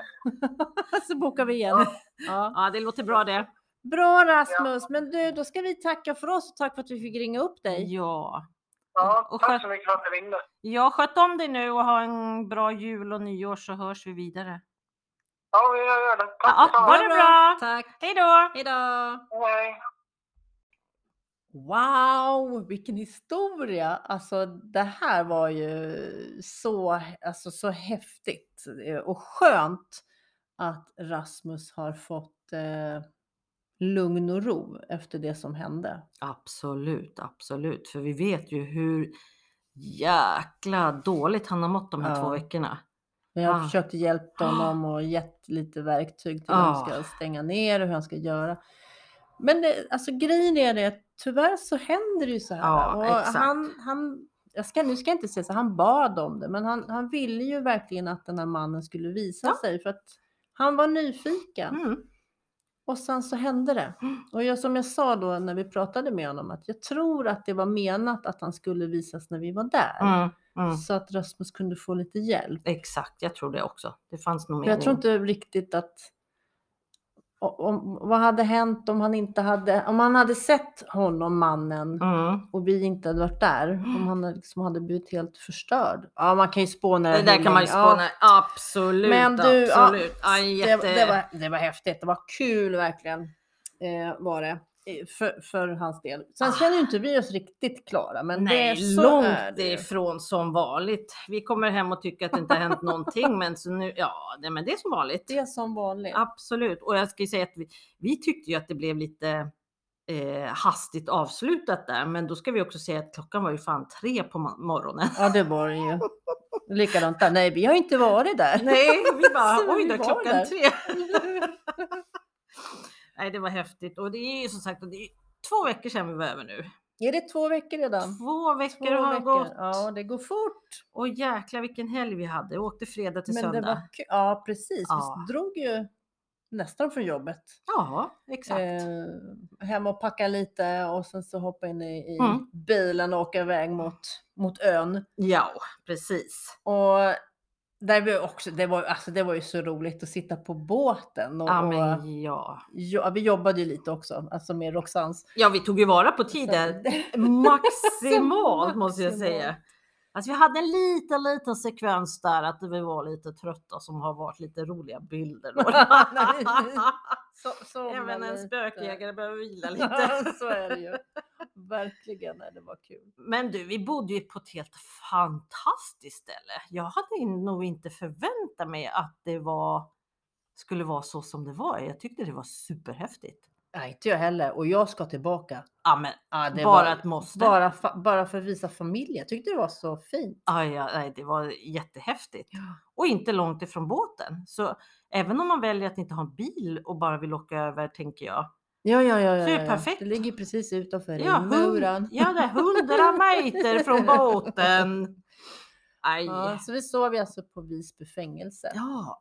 [SPEAKER 1] Så bokar vi igen. Ja.
[SPEAKER 2] Ja, det låter bra det.
[SPEAKER 1] Bra Rasmus, men du, då ska vi tacka för oss och tack för att vi fick ringa upp dig.
[SPEAKER 2] Ja.
[SPEAKER 3] Ja,
[SPEAKER 2] Och
[SPEAKER 3] tack
[SPEAKER 2] skött-
[SPEAKER 3] så mycket för att ni ringde.
[SPEAKER 2] Jag sköt om dig nu och ha en bra jul och nyår så hörs vi vidare.
[SPEAKER 3] Ja, vi gör det. Tack
[SPEAKER 2] Ja,
[SPEAKER 3] detsamma.
[SPEAKER 2] ha det bra.
[SPEAKER 1] Tack.
[SPEAKER 2] Hej då!
[SPEAKER 1] Hej då.
[SPEAKER 3] Hej.
[SPEAKER 1] Wow, vilken historia! Alltså det här var ju så, alltså, så häftigt eh, och skönt att Rasmus har fått eh, lugn och ro efter det som hände.
[SPEAKER 2] Absolut, absolut. För vi vet ju hur jäkla dåligt han har mått de här
[SPEAKER 1] Ja.
[SPEAKER 2] två veckorna.
[SPEAKER 1] Men jag
[SPEAKER 2] Ah.
[SPEAKER 1] har försökt hjälpa honom och gett lite verktyg till hur han
[SPEAKER 2] Ah.
[SPEAKER 1] ska stänga ner och hur han ska göra. Men det, alltså, grejen är det att tyvärr så händer det ju så här.
[SPEAKER 2] Ja,
[SPEAKER 1] och
[SPEAKER 2] exakt.
[SPEAKER 1] han, han, jag ska, nu ska jag inte säga så, han bad om det, men han, han ville ju verkligen att den här mannen skulle visa
[SPEAKER 2] Ja.
[SPEAKER 1] sig för att han var nyfiken.
[SPEAKER 2] Mm.
[SPEAKER 1] Och sen så hände det. Och jag, som jag sa då när vi pratade med honom att jag tror att det var menat att han skulle visas när vi var där.
[SPEAKER 2] Mm. Mm.
[SPEAKER 1] Så att Rasmus kunde få lite hjälp.
[SPEAKER 2] Exakt, jag tror det också. Det fanns nog
[SPEAKER 1] För jag tror
[SPEAKER 2] mening.
[SPEAKER 1] inte riktigt att... o- Om, vad hade hänt om han inte hade... Om han hade sett honom, mannen,
[SPEAKER 2] Mm.
[SPEAKER 1] och vi inte hade varit där. Om han hade liksom hade blivit helt förstörd. Ja, man kan ju spåna.
[SPEAKER 2] Det
[SPEAKER 1] hur
[SPEAKER 2] där kan man ju
[SPEAKER 1] länge- ja.
[SPEAKER 2] spåna. Absolut,
[SPEAKER 1] Men du, ja,
[SPEAKER 2] absolut. Ja, en jätte...
[SPEAKER 1] det, det, var, det var häftigt. Det var kul verkligen. Eh, var det. Eh, För, för hans del. Sen
[SPEAKER 2] Ah.
[SPEAKER 1] känner ju inte vi oss riktigt klara. Men
[SPEAKER 2] Nej,
[SPEAKER 1] det, så är
[SPEAKER 2] långt
[SPEAKER 1] det ju.
[SPEAKER 2] ifrån som vanligt. Vi kommer hem och tycker att det inte har hänt någonting, men så nu, ja, nej, men det är som vanligt.
[SPEAKER 1] Det är som vanligt.
[SPEAKER 2] Absolut. Och jag ska ju säga att vi, vi tyckte ju att det blev lite eh, hastigt avslutat där, men då ska vi också säga att klockan var ju fan tre på ma- morgonen.
[SPEAKER 1] Ja, det var det ju. Likadant där. Nej, vi har inte varit där.
[SPEAKER 2] Nej, vi bara,
[SPEAKER 1] Så
[SPEAKER 2] oj
[SPEAKER 1] vi
[SPEAKER 2] då,
[SPEAKER 1] var
[SPEAKER 2] klockan
[SPEAKER 1] där.
[SPEAKER 2] tre. Nej, det var häftigt. Och det är ju som sagt, och det är två veckor sedan vi var över nu.
[SPEAKER 1] Är det två veckor redan?
[SPEAKER 2] Två veckor
[SPEAKER 1] Två
[SPEAKER 2] har
[SPEAKER 1] veckor.
[SPEAKER 2] gått.
[SPEAKER 1] Ja, det går fort.
[SPEAKER 2] Och jäklar vilken helg vi hade. Jag åkte fredag till
[SPEAKER 1] Men
[SPEAKER 2] söndag.
[SPEAKER 1] det var kul. Ja, precis.
[SPEAKER 2] Ja.
[SPEAKER 1] Vi drog ju nästan från jobbet.
[SPEAKER 2] Ja, exakt.
[SPEAKER 1] Eh, hem och packa lite och sen så hoppa in i, i
[SPEAKER 2] Mm.
[SPEAKER 1] bilen och åka iväg mot, mot ön.
[SPEAKER 2] Ja, precis.
[SPEAKER 1] Och där vi också, det, var, alltså det var ju så roligt att sitta på båten. Och,
[SPEAKER 2] Ja,
[SPEAKER 1] och,
[SPEAKER 2] men ja.
[SPEAKER 1] jo, vi jobbade ju lite också, alltså med Roxans.
[SPEAKER 2] ja, vi tog ju vara på
[SPEAKER 1] Så
[SPEAKER 2] tiden
[SPEAKER 1] det-
[SPEAKER 2] maximalt måste jag
[SPEAKER 1] Maximalt.
[SPEAKER 2] säga. Alltså, vi hade en liten, liten sekvens där att vi var lite trötta som har varit lite roliga bilder. då.
[SPEAKER 1] Nej, så, så
[SPEAKER 2] Även en spökjägare behöver vila lite.
[SPEAKER 1] lite. så är det ju. Verkligen, nej, det var kul.
[SPEAKER 2] Men du, vi bodde ju på ett helt fantastiskt ställe. Jag hade nog inte förväntat mig att det var, skulle vara så som det var. Jag tyckte det var superhäftigt.
[SPEAKER 1] Nej, inte jag heller. Och jag ska tillbaka.
[SPEAKER 2] Ja, men
[SPEAKER 1] Ja, det
[SPEAKER 2] bara
[SPEAKER 1] var-
[SPEAKER 2] ett måste.
[SPEAKER 1] bara, fa- bara för att visa familjen. Jag tyckte det var så fint.
[SPEAKER 2] Ja, ja, nej, det var jättehäftigt. Och inte långt ifrån båten. Så även om man väljer att inte ha en bil och bara vill åka över, tänker jag.
[SPEAKER 1] Ja, ja, ja.
[SPEAKER 2] Så
[SPEAKER 1] ja,
[SPEAKER 2] det är
[SPEAKER 1] ja, ja.
[SPEAKER 2] perfekt.
[SPEAKER 1] Det ligger precis utanför
[SPEAKER 2] Ja,
[SPEAKER 1] ja, muren.
[SPEAKER 2] hund, ja det är hundra meter från båten. Aj.
[SPEAKER 1] Ja,
[SPEAKER 2] Ja,
[SPEAKER 1] så vi sov ju alltså på Visby fängelse.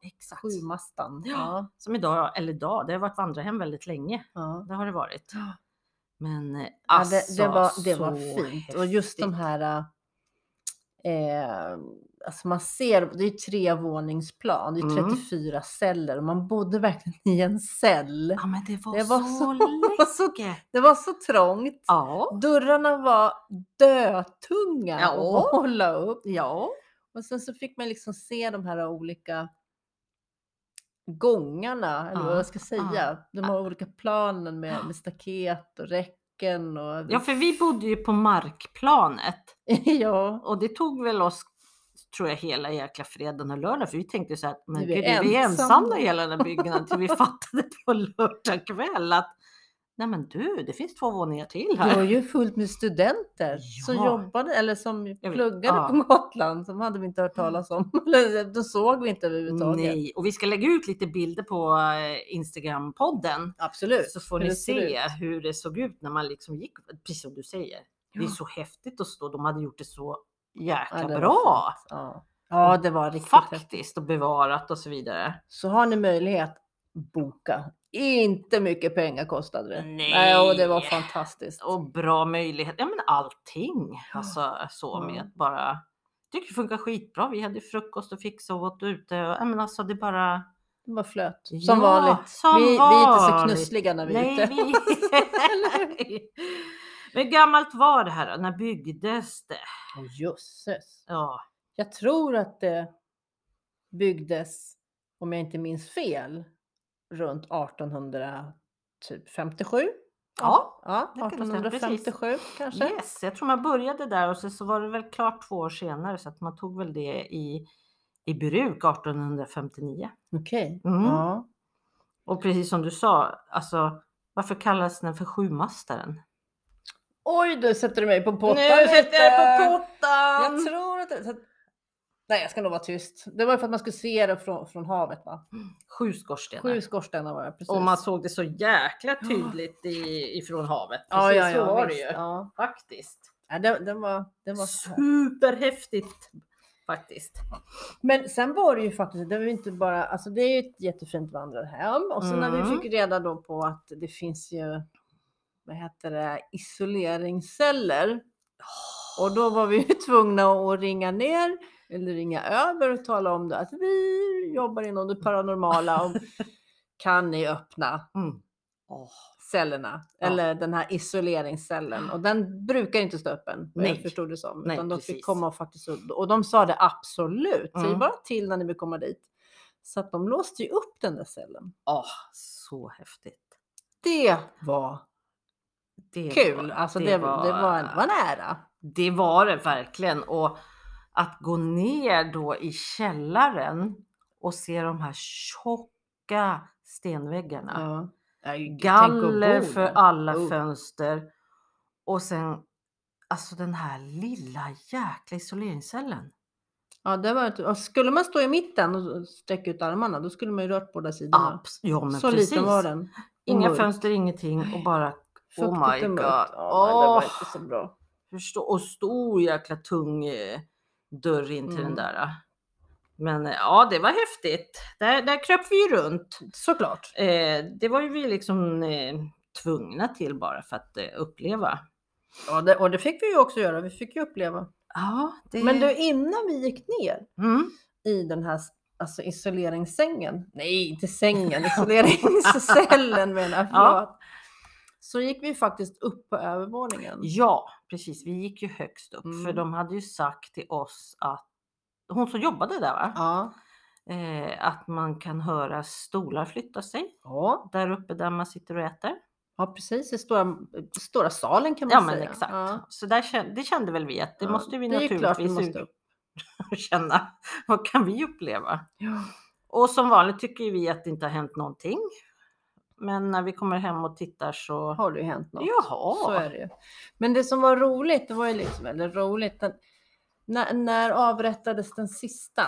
[SPEAKER 2] exakt.
[SPEAKER 1] Sjumastan.
[SPEAKER 2] Ja.
[SPEAKER 1] Ja.
[SPEAKER 2] Som idag, eller idag, det har varit vandrarhem väldigt länge.
[SPEAKER 1] Ja.
[SPEAKER 2] Det har det varit.
[SPEAKER 1] Ja.
[SPEAKER 2] Men eh,
[SPEAKER 1] Ja,
[SPEAKER 2] alltså,
[SPEAKER 1] det, det var, det var
[SPEAKER 2] så
[SPEAKER 1] fint. Och just de
[SPEAKER 2] häftigt.
[SPEAKER 1] här... Eh, alltså man ser, det är ju trevåningsplan, det är
[SPEAKER 2] Mm.
[SPEAKER 1] 34 celler och man bodde verkligen i en cell.
[SPEAKER 2] Ja, men det var,
[SPEAKER 1] Det var
[SPEAKER 2] så,
[SPEAKER 1] så-
[SPEAKER 2] läskigt.
[SPEAKER 1] Det var så trångt.
[SPEAKER 2] Ja,
[SPEAKER 1] Dörrarna var dötunga
[SPEAKER 2] Ja.
[SPEAKER 1] att hålla upp.
[SPEAKER 2] ja.
[SPEAKER 1] Och sen så fick man liksom se de här olika gångarna, eller vad
[SPEAKER 2] Ja,
[SPEAKER 1] jag ska säga. De har olika planen med, med staket och räcken och...
[SPEAKER 2] Ja, för vi bodde ju på markplanet
[SPEAKER 1] ja.
[SPEAKER 2] och det tog väl oss, tror jag, hela jäkla fredagen och lördagen. För vi tänkte ju så här, att, men
[SPEAKER 1] Nu är
[SPEAKER 2] gud,
[SPEAKER 1] vi
[SPEAKER 2] är vi ensamma
[SPEAKER 1] ensamma.
[SPEAKER 2] i hela den här byggnaden? Till vi fattade på lördag kväll att, nej men du, det finns två våningar till
[SPEAKER 1] Det var
[SPEAKER 2] här.
[SPEAKER 1] ju fullt med studenter som
[SPEAKER 2] Ja.
[SPEAKER 1] jobbade eller som
[SPEAKER 2] vet,
[SPEAKER 1] pluggade
[SPEAKER 2] ja.
[SPEAKER 1] på Gotland. Som hade vi inte hört talas om. Eller, de såg vi inte överhuvudtaget.
[SPEAKER 2] Nej, och vi ska lägga ut lite bilder på eh, Instagram-podden.
[SPEAKER 1] Absolut.
[SPEAKER 2] Så får
[SPEAKER 1] hur
[SPEAKER 2] ni
[SPEAKER 1] det ser
[SPEAKER 2] se hur det såg ut när man liksom gick, precis som du säger. Det är så häftigt att stå, de hade gjort det så jäkla
[SPEAKER 1] det var
[SPEAKER 2] bra.
[SPEAKER 1] fint. Ja.
[SPEAKER 2] Mm.
[SPEAKER 1] ja, det var riktigt häftigt.
[SPEAKER 2] Faktiskt och bevarat och så vidare.
[SPEAKER 1] Så har ni möjlighet, boka. Inte mycket pengar kostade det.
[SPEAKER 2] Nej.
[SPEAKER 1] och det var fantastiskt.
[SPEAKER 2] Och bra möjlighet, ja men allting. Alltså så med
[SPEAKER 1] Ja.
[SPEAKER 2] att bara, jag tycker det funkar skitbra. Vi hade ju frukost och fixa och åt ute. Och, ja, men alltså det bara.
[SPEAKER 1] Det var flöt. Som
[SPEAKER 2] Ja,
[SPEAKER 1] vanligt.
[SPEAKER 2] som
[SPEAKER 1] vi, vi är inte så
[SPEAKER 2] vanligt.
[SPEAKER 1] knussliga när vi är
[SPEAKER 2] Nej,
[SPEAKER 1] ute.
[SPEAKER 2] vi... Nej. Men hur gammalt var det här då? När byggdes det?
[SPEAKER 1] Åh, jösses.
[SPEAKER 2] Ja,
[SPEAKER 1] Jag tror att det byggdes, om jag inte minns fel, runt 1857.
[SPEAKER 2] Ja,
[SPEAKER 1] ja
[SPEAKER 2] det kan det stämma, precis.
[SPEAKER 1] 1857 kanske.
[SPEAKER 2] yes, jag tror man började där och sen så var det väl klart två år senare så att man tog väl det i, i bruk 1859.
[SPEAKER 1] Okej.
[SPEAKER 2] Mm.
[SPEAKER 1] Ja.
[SPEAKER 2] Och precis som du sa, alltså varför kallas den för sjumastaren?
[SPEAKER 1] Oj, du sätter du mig på pottan.
[SPEAKER 2] pottan!
[SPEAKER 1] Jag tror att det... Så att... Nej, jag ska nog vara tyst. Det var ju för att man skulle se det från, från havet va?
[SPEAKER 2] Sju skorstenar.
[SPEAKER 1] Sju skorstenar var det precis.
[SPEAKER 2] Och man såg det så jäkla tydligt i, ifrån havet.
[SPEAKER 1] ja,
[SPEAKER 2] Precis
[SPEAKER 1] ja, ja,
[SPEAKER 2] så var det
[SPEAKER 1] visst,
[SPEAKER 2] ju.
[SPEAKER 1] Ja.
[SPEAKER 2] Faktiskt.
[SPEAKER 1] Ja, den, den var... Den var
[SPEAKER 2] Superhäftigt faktiskt.
[SPEAKER 1] Men sen var det ju faktiskt, det var ju inte bara, alltså det är ju ett jättefint vandrarhem och sen när vi
[SPEAKER 2] Mm.
[SPEAKER 1] fick reda då på att det finns ju, vad heter det, isoleringsceller. Och då var vi ju tvungna att ringa ner eller ringa över och tala om det att vi jobbar inom det paranormala och kan ni öppna
[SPEAKER 2] Mm. Åh,
[SPEAKER 1] cellerna
[SPEAKER 2] Ja. Ah.
[SPEAKER 1] eller den här isoleringscellen och den brukar inte stå öppen. vad
[SPEAKER 2] Nej.
[SPEAKER 1] Jag förstod det som.
[SPEAKER 2] Nej,
[SPEAKER 1] utan de
[SPEAKER 2] precis.
[SPEAKER 1] fick komma och faktiskt upp och de sa det absolut. Säg
[SPEAKER 2] Mm.
[SPEAKER 1] bara till när ni vill komma dit. Så att de låste ju upp den där cellen.
[SPEAKER 2] åh, så häftigt.
[SPEAKER 1] Det var
[SPEAKER 2] Det
[SPEAKER 1] kul. Alltså det, var, det, var, det var nära.
[SPEAKER 2] Det var det verkligen. Och att gå ner då i källaren och se de här tjocka stenväggarna.
[SPEAKER 1] Ja. Tänk att
[SPEAKER 2] galler
[SPEAKER 1] bo
[SPEAKER 2] för
[SPEAKER 1] där.
[SPEAKER 2] alla
[SPEAKER 1] Oh.
[SPEAKER 2] fönster. Och sen alltså den här lilla jäkla isoleringscellen.
[SPEAKER 1] Ja, det var, ett- och skulle man stå i mitten och sträcka ut armarna då skulle man ju rört båda sidorna.
[SPEAKER 2] Abs- ja, men
[SPEAKER 1] Så
[SPEAKER 2] precis.
[SPEAKER 1] liten var den.
[SPEAKER 2] Inga
[SPEAKER 1] Mörk.
[SPEAKER 2] fönster, ingenting och bara
[SPEAKER 1] Fuktigt
[SPEAKER 2] oh my
[SPEAKER 1] och
[SPEAKER 2] god.
[SPEAKER 1] mörkt. Ja, nej, det var
[SPEAKER 2] Åh.
[SPEAKER 1] inte så bra.
[SPEAKER 2] förstå, och stor jäkla tung eh, dörr in till den
[SPEAKER 1] Mm.
[SPEAKER 2] där. Men eh, ja, det var häftigt. Där, där kröp vi ju runt.
[SPEAKER 1] Såklart.
[SPEAKER 2] Eh, det var ju vi liksom eh, tvungna till bara för att eh, uppleva.
[SPEAKER 1] Ja, det, och det fick vi ju också göra. Vi fick ju uppleva.
[SPEAKER 2] Ja, det...
[SPEAKER 1] Men du, innan vi gick ner
[SPEAKER 2] Mm.
[SPEAKER 1] i den här alltså isoleringssängen. Nej, inte sängen, isoleringscellen menar jag.
[SPEAKER 2] Ja.
[SPEAKER 1] Förlåt. Så gick vi faktiskt upp på övervåningen.
[SPEAKER 2] Ja, precis. Vi gick ju högst upp för
[SPEAKER 1] Mm.
[SPEAKER 2] de hade ju sagt till oss att hon som jobbade där, va?
[SPEAKER 1] Ja.
[SPEAKER 2] Eh, att man kan höra stolar flytta sig
[SPEAKER 1] Ja.
[SPEAKER 2] där uppe där man sitter och äter.
[SPEAKER 1] ja, precis. I stora, stora salen kan man
[SPEAKER 2] Ja,
[SPEAKER 1] säga.
[SPEAKER 2] men exakt.
[SPEAKER 1] Ja.
[SPEAKER 2] Så där kände, det kände väl vi att det
[SPEAKER 1] Ja,
[SPEAKER 2] måste vi
[SPEAKER 1] det är ju klart vi
[SPEAKER 2] naturligtvis
[SPEAKER 1] måste upp.
[SPEAKER 2] ut- känna. Vad kan vi uppleva?
[SPEAKER 1] Ja.
[SPEAKER 2] Och som vanligt tycker ju vi att det inte har hänt någonting. Men när vi kommer hem och tittar så
[SPEAKER 1] Har det ju hänt något.
[SPEAKER 2] Jaha.
[SPEAKER 1] Så är det ju. Men det som var roligt, det var ju liksom, eller roligt, den, när, när avrättades den sista?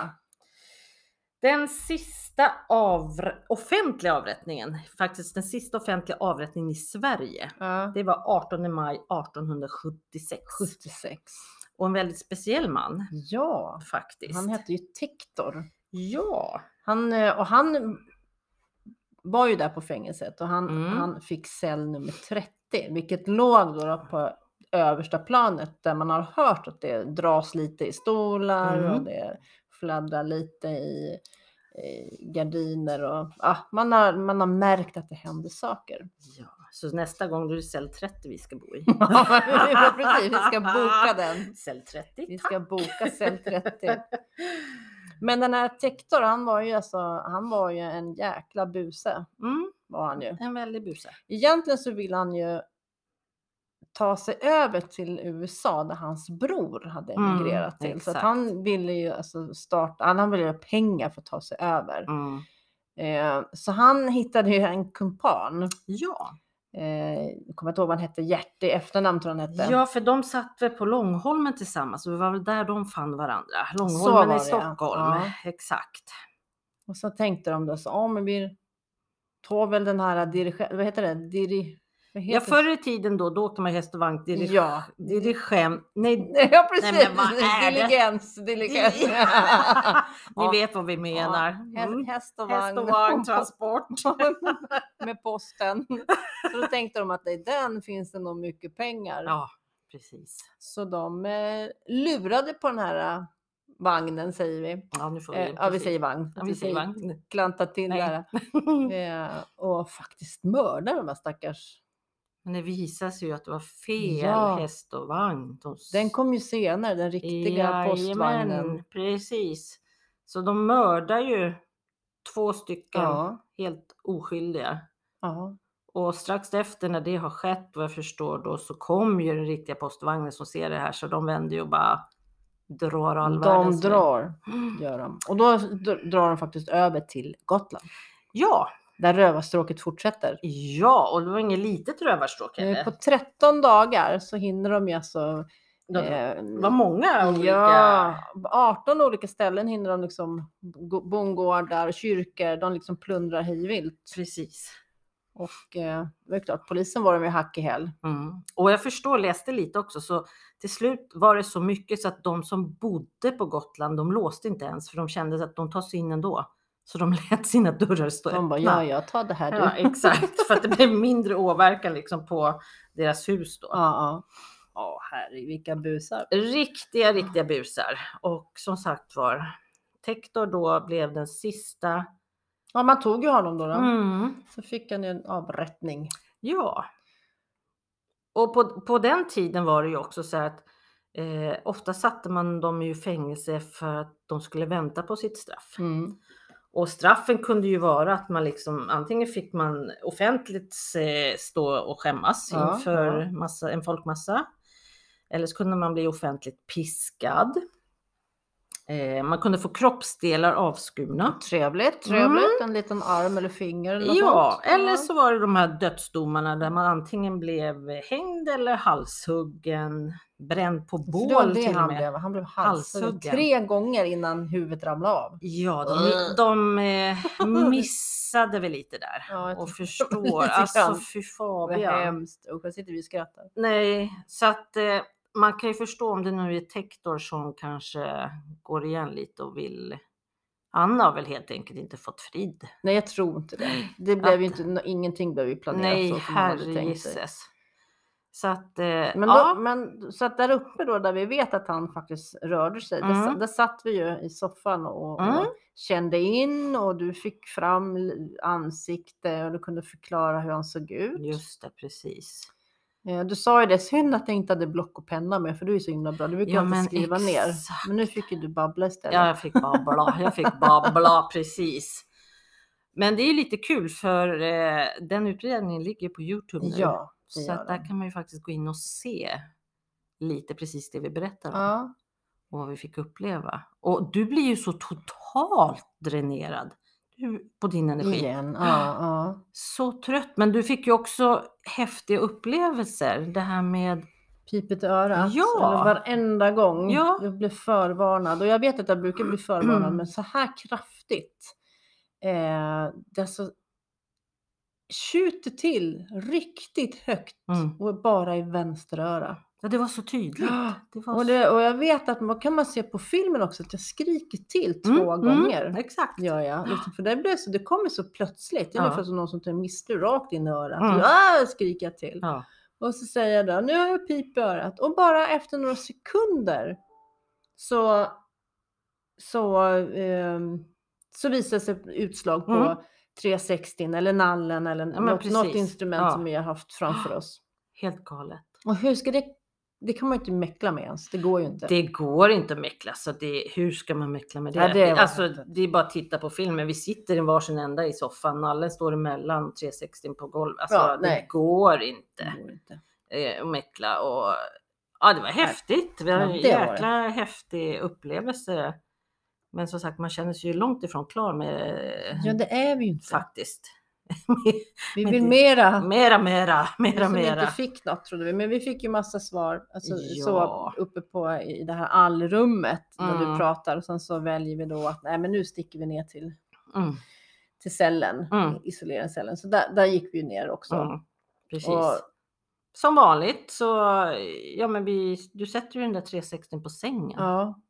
[SPEAKER 2] den sista avr- offentliga avrättningen, faktiskt den sista offentliga avrättningen i Sverige.
[SPEAKER 1] Ja.
[SPEAKER 2] Det var 18 maj 1876
[SPEAKER 1] 76.
[SPEAKER 2] och en väldigt speciell man
[SPEAKER 1] Ja.
[SPEAKER 2] faktiskt.
[SPEAKER 1] Han hette ju Tektor.
[SPEAKER 2] Ja,
[SPEAKER 1] Han, eh, och han var ju där på fängelset och han,
[SPEAKER 2] Mm.
[SPEAKER 1] han fick cell nummer 30, vilket låg då då på översta planet där man har hört att det dras lite i stolar och
[SPEAKER 2] Mm.
[SPEAKER 1] det fladdrar lite i, i gardiner och ja, man, har, man har märkt att det händer saker.
[SPEAKER 2] ja. Så nästa gång då är det cell 30 vi ska bo i.
[SPEAKER 1] Ja, precis, vi ska boka den.
[SPEAKER 2] Cell 30.
[SPEAKER 1] Vi
[SPEAKER 2] tack.
[SPEAKER 1] ska boka cell 30. Men den här Tektor, han var ju alltså, han var ju en jäkla buse
[SPEAKER 2] Mm,
[SPEAKER 1] var han ju.
[SPEAKER 2] en väldig buse.
[SPEAKER 1] Egentligen så vill han ju ta sig över till USA där hans bror hade
[SPEAKER 2] Mm,
[SPEAKER 1] emigrerat till. Så att
[SPEAKER 2] exakt.
[SPEAKER 1] han ville ju alltså starta, han ville ha pengar för att ta sig över.
[SPEAKER 2] Mm.
[SPEAKER 1] Eh, så han hittade ju en kumpan.
[SPEAKER 2] Ja.
[SPEAKER 1] Eh, jag kommer inte ihåg vad han hette, Gert i efternamn tror jag han hette.
[SPEAKER 2] ja, för de satt väl på Långholmen tillsammans och det var väl där de fann varandra.
[SPEAKER 1] var
[SPEAKER 2] Långholmen
[SPEAKER 1] det,
[SPEAKER 2] i
[SPEAKER 1] ja.
[SPEAKER 2] Stockholm,
[SPEAKER 1] Ja.
[SPEAKER 2] exakt.
[SPEAKER 1] Och så tänkte de då så, ja men vi tar väl den här dirigenten, vad heter det? Diri... Vad
[SPEAKER 2] Ja,
[SPEAKER 1] heter
[SPEAKER 2] förr i tiden då, då åkte man häst och vagn, dirige-
[SPEAKER 1] Ja.
[SPEAKER 2] dirigent, nej,
[SPEAKER 1] det? Ja precis,
[SPEAKER 2] Nej, men vad är det?
[SPEAKER 1] diligens, diligens.
[SPEAKER 2] Ni
[SPEAKER 1] Ja.
[SPEAKER 2] vet vad vi menar.
[SPEAKER 1] Ja, hä-
[SPEAKER 2] Mm.
[SPEAKER 1] Häst och vagn.
[SPEAKER 2] Häst och vagn, transport.
[SPEAKER 1] med posten. Så då tänkte de att i den finns det nog mycket pengar.
[SPEAKER 2] Ja, precis.
[SPEAKER 1] Så de eh, lurade på den här eh, vagnen säger vi.
[SPEAKER 2] Ja, nu får vi,
[SPEAKER 1] Eh, ja vi
[SPEAKER 2] precis.
[SPEAKER 1] säger vagn.
[SPEAKER 2] Ja, vi säger vagn.
[SPEAKER 1] Klanta till
[SPEAKER 2] Nej.
[SPEAKER 1] där. Eh, och faktiskt mörda de här stackars.
[SPEAKER 2] Men det visade sig ju att det var fel
[SPEAKER 1] Ja.
[SPEAKER 2] häst och vagn. De s-
[SPEAKER 1] Den kom ju senare, den riktiga
[SPEAKER 2] Jajamän,
[SPEAKER 1] postvagnen.
[SPEAKER 2] Precis. Så de mördar ju två stycken
[SPEAKER 1] Ja,
[SPEAKER 2] helt oskyldiga.
[SPEAKER 1] ja.
[SPEAKER 2] Och strax efter när det har skett vad jag förstår då så kom ju den riktiga postvagnen som ser det här så de vänder ju och bara drar all
[SPEAKER 1] De
[SPEAKER 2] världens väg.
[SPEAKER 1] drar,
[SPEAKER 2] Mm.
[SPEAKER 1] gör de. Och då dr- drar de faktiskt över till Gotland.
[SPEAKER 2] Ja,
[SPEAKER 1] Där rövarstråket fortsätter.
[SPEAKER 2] ja, och det var inget litet rövarstråk
[SPEAKER 1] Eh,
[SPEAKER 2] heller.
[SPEAKER 1] På 13 dagar så hinner de ju alltså...
[SPEAKER 2] De-
[SPEAKER 1] eh,
[SPEAKER 2] Det var många olika.
[SPEAKER 1] Ja, 18 olika ställen hinner de liksom go- bondgårdar, kyrkor, de liksom plundrar hejvilt.
[SPEAKER 2] Precis.
[SPEAKER 1] Och eh, det är klart, polisen var de ju hack i häl.
[SPEAKER 2] Mm. Och jag förstår, läste lite också, så till slut var det så mycket så att de som bodde på Gotland, de låste inte ens för de kände att de tar sig in ändå. Så de lät sina dörrar stå
[SPEAKER 1] De
[SPEAKER 2] öppna.
[SPEAKER 1] bara, ja, ja, ta det här du.
[SPEAKER 2] Ja, exakt, för att det blev mindre åverkan liksom på deras hus då.
[SPEAKER 1] ja. Ja, herre, vilka busar.
[SPEAKER 2] Riktiga, riktiga busar. Och som sagt var, Tektor då blev den sista.
[SPEAKER 1] Ja, man tog ju honom då. då.
[SPEAKER 2] Mm.
[SPEAKER 1] Så fick han ju en avrättning.
[SPEAKER 2] Ja. Och på, på den tiden var det ju också så här att eh, ofta satte man dem i fängelse för att de skulle vänta på sitt straff.
[SPEAKER 1] Mm.
[SPEAKER 2] Och straffen kunde ju vara att man liksom antingen fick man offentligt eh, stå och skämmas
[SPEAKER 1] Ja,
[SPEAKER 2] inför
[SPEAKER 1] ja.
[SPEAKER 2] Massa, en folkmassa. Eller så kunde man bli offentligt piskad. Eh, man kunde få kroppsdelar avskurna.
[SPEAKER 1] Trevligt, trevligt. En liten arm eller finger eller något
[SPEAKER 2] Mm. Ja,
[SPEAKER 1] sånt.
[SPEAKER 2] eller så var det de här dödsdomarna där man antingen blev hängd eller halshuggen, bränd på
[SPEAKER 1] För det var
[SPEAKER 2] bål
[SPEAKER 1] det
[SPEAKER 2] till
[SPEAKER 1] han
[SPEAKER 2] och med.
[SPEAKER 1] blev. Han blev halshuggen
[SPEAKER 2] Halshuggen.
[SPEAKER 1] tre gånger innan huvudet ramlade av.
[SPEAKER 2] Ja,
[SPEAKER 1] Ugh.
[SPEAKER 2] de, de eh, missade väl lite där
[SPEAKER 1] Ja, jag
[SPEAKER 2] och
[SPEAKER 1] tror-
[SPEAKER 2] förstår.
[SPEAKER 1] lite
[SPEAKER 2] Alltså
[SPEAKER 1] grann.
[SPEAKER 2] fy
[SPEAKER 1] Det är
[SPEAKER 2] fabian.
[SPEAKER 1] hemskt. Usch, här sitter vi och skrattar.
[SPEAKER 2] Nej, så att eh, man kan ju förstå om det nu är Tektor som kanske går igen lite och vill. Han har väl helt enkelt inte fått frid.
[SPEAKER 1] Nej, jag tror inte det. Det blev ju inte, nå- ingenting blev ju planerat
[SPEAKER 2] Nej,
[SPEAKER 1] så som man hade tänkt sig.
[SPEAKER 2] herregisses. Så att eh, men
[SPEAKER 1] Men, då,
[SPEAKER 2] ja,
[SPEAKER 1] men så att där uppe då, där vi vet att han faktiskt rörde sig, där, sa-
[SPEAKER 2] Mm.
[SPEAKER 1] där satt vi ju i soffan och,
[SPEAKER 2] Mm.
[SPEAKER 1] och kände in och du fick fram l- ansikte och du kunde förklara hur han såg ut.
[SPEAKER 2] just det, precis.
[SPEAKER 1] Eh, Du sa ju det, synd att jag inte hade block och penna med för du är så himla bra, du brukar
[SPEAKER 2] Ja,
[SPEAKER 1] alltid
[SPEAKER 2] men
[SPEAKER 1] skriva ner.
[SPEAKER 2] exakt.
[SPEAKER 1] Men nu fick ju du babbla istället.
[SPEAKER 2] Ja, jag fick babbla. Jag fick babbla, precis. Men det är lite kul för eh, den utredningen ligger ju på Youtube nu.
[SPEAKER 1] Ja, det
[SPEAKER 2] så
[SPEAKER 1] gör
[SPEAKER 2] att där
[SPEAKER 1] den.
[SPEAKER 2] kan man ju faktiskt gå in och se lite precis det vi berättar om
[SPEAKER 1] ja.
[SPEAKER 2] och vad vi fick uppleva. Och du blir ju så totalt dränerad du, på din energi.
[SPEAKER 1] igen. Ja, ja.
[SPEAKER 2] Så trött. Men du fick ju också häftiga upplevelser. Det här med
[SPEAKER 1] Pipet i örat.
[SPEAKER 2] Ja.
[SPEAKER 1] Eller varenda gång
[SPEAKER 2] Ja.
[SPEAKER 1] jag blir förvarnad. Och jag vet att jag brukar bli förvarnad, men så här kraftigt. Eh, det alltså tjuter till riktigt högt
[SPEAKER 2] Mm.
[SPEAKER 1] och bara i vänster öra.
[SPEAKER 2] Ja, det var så tydligt. Det var
[SPEAKER 1] Och,
[SPEAKER 2] så...
[SPEAKER 1] det, och jag vet att man kan man se på filmen också att jag skriker till
[SPEAKER 2] Mm,
[SPEAKER 1] två
[SPEAKER 2] mm,
[SPEAKER 1] gånger.
[SPEAKER 2] Exakt.
[SPEAKER 1] Ja, ja. Liksom, för det, blir så, det kommer så plötsligt. Det är
[SPEAKER 2] Ja.
[SPEAKER 1] ungefär som någon som tar en mistel rakt in i örat.
[SPEAKER 2] Mm.
[SPEAKER 1] Ah, skriker jag till.
[SPEAKER 2] Ja.
[SPEAKER 1] Och så säger jag då, nu har jag pip i örat. Och bara efter några sekunder så, så, ehm, så visar det sig utslag på
[SPEAKER 2] Mm.
[SPEAKER 1] 360 eller nallen eller
[SPEAKER 2] men
[SPEAKER 1] något, något
[SPEAKER 2] precis.
[SPEAKER 1] instrument
[SPEAKER 2] Ja.
[SPEAKER 1] som vi har haft framför oss.
[SPEAKER 2] Helt galet.
[SPEAKER 1] Och hur ska det det kan man ju inte mäckla med ens. Det går ju inte.
[SPEAKER 2] Det går inte att mäckla, så det, hur ska man mäckla med det?
[SPEAKER 1] Ja, det var
[SPEAKER 2] alltså,
[SPEAKER 1] inte.
[SPEAKER 2] det är bara att titta på filmen. Vi sitter i varsin ända i soffan, nallen står emellan 360 på golvet. Alltså,
[SPEAKER 1] Ja,
[SPEAKER 2] det
[SPEAKER 1] nej.
[SPEAKER 2] går inte
[SPEAKER 1] går inte.
[SPEAKER 2] eh, att mäckla. Och, ja, det var häftigt. Det var
[SPEAKER 1] Ja,
[SPEAKER 2] en
[SPEAKER 1] det var det.
[SPEAKER 2] jäkla häftig upplevelse. Men som sagt, man känner sig ju långt ifrån klar med
[SPEAKER 1] Ja, det är vi ju inte.
[SPEAKER 2] faktiskt.
[SPEAKER 1] Vi
[SPEAKER 2] men
[SPEAKER 1] vill
[SPEAKER 2] det- Mm.
[SPEAKER 1] mera.
[SPEAKER 2] mera, mera, mera,
[SPEAKER 1] Som
[SPEAKER 2] mera.
[SPEAKER 1] Alltså, inte fick något trodde vi, men vi fick ju massa svar alltså,
[SPEAKER 2] Ja.
[SPEAKER 1] så uppe på i det här allrummet där
[SPEAKER 2] Mm.
[SPEAKER 1] du pratar och sen så väljer vi då att nej, men nu sticker vi ner till,
[SPEAKER 2] Mm,
[SPEAKER 1] till cellen,
[SPEAKER 2] Mm.
[SPEAKER 1] isolera cellen. Så där, där gick vi ju ner också.
[SPEAKER 2] mm, precis.
[SPEAKER 1] Och-
[SPEAKER 2] Som vanligt så, ja men vi, du sätter ju den där 360 på sängen.
[SPEAKER 1] Ja,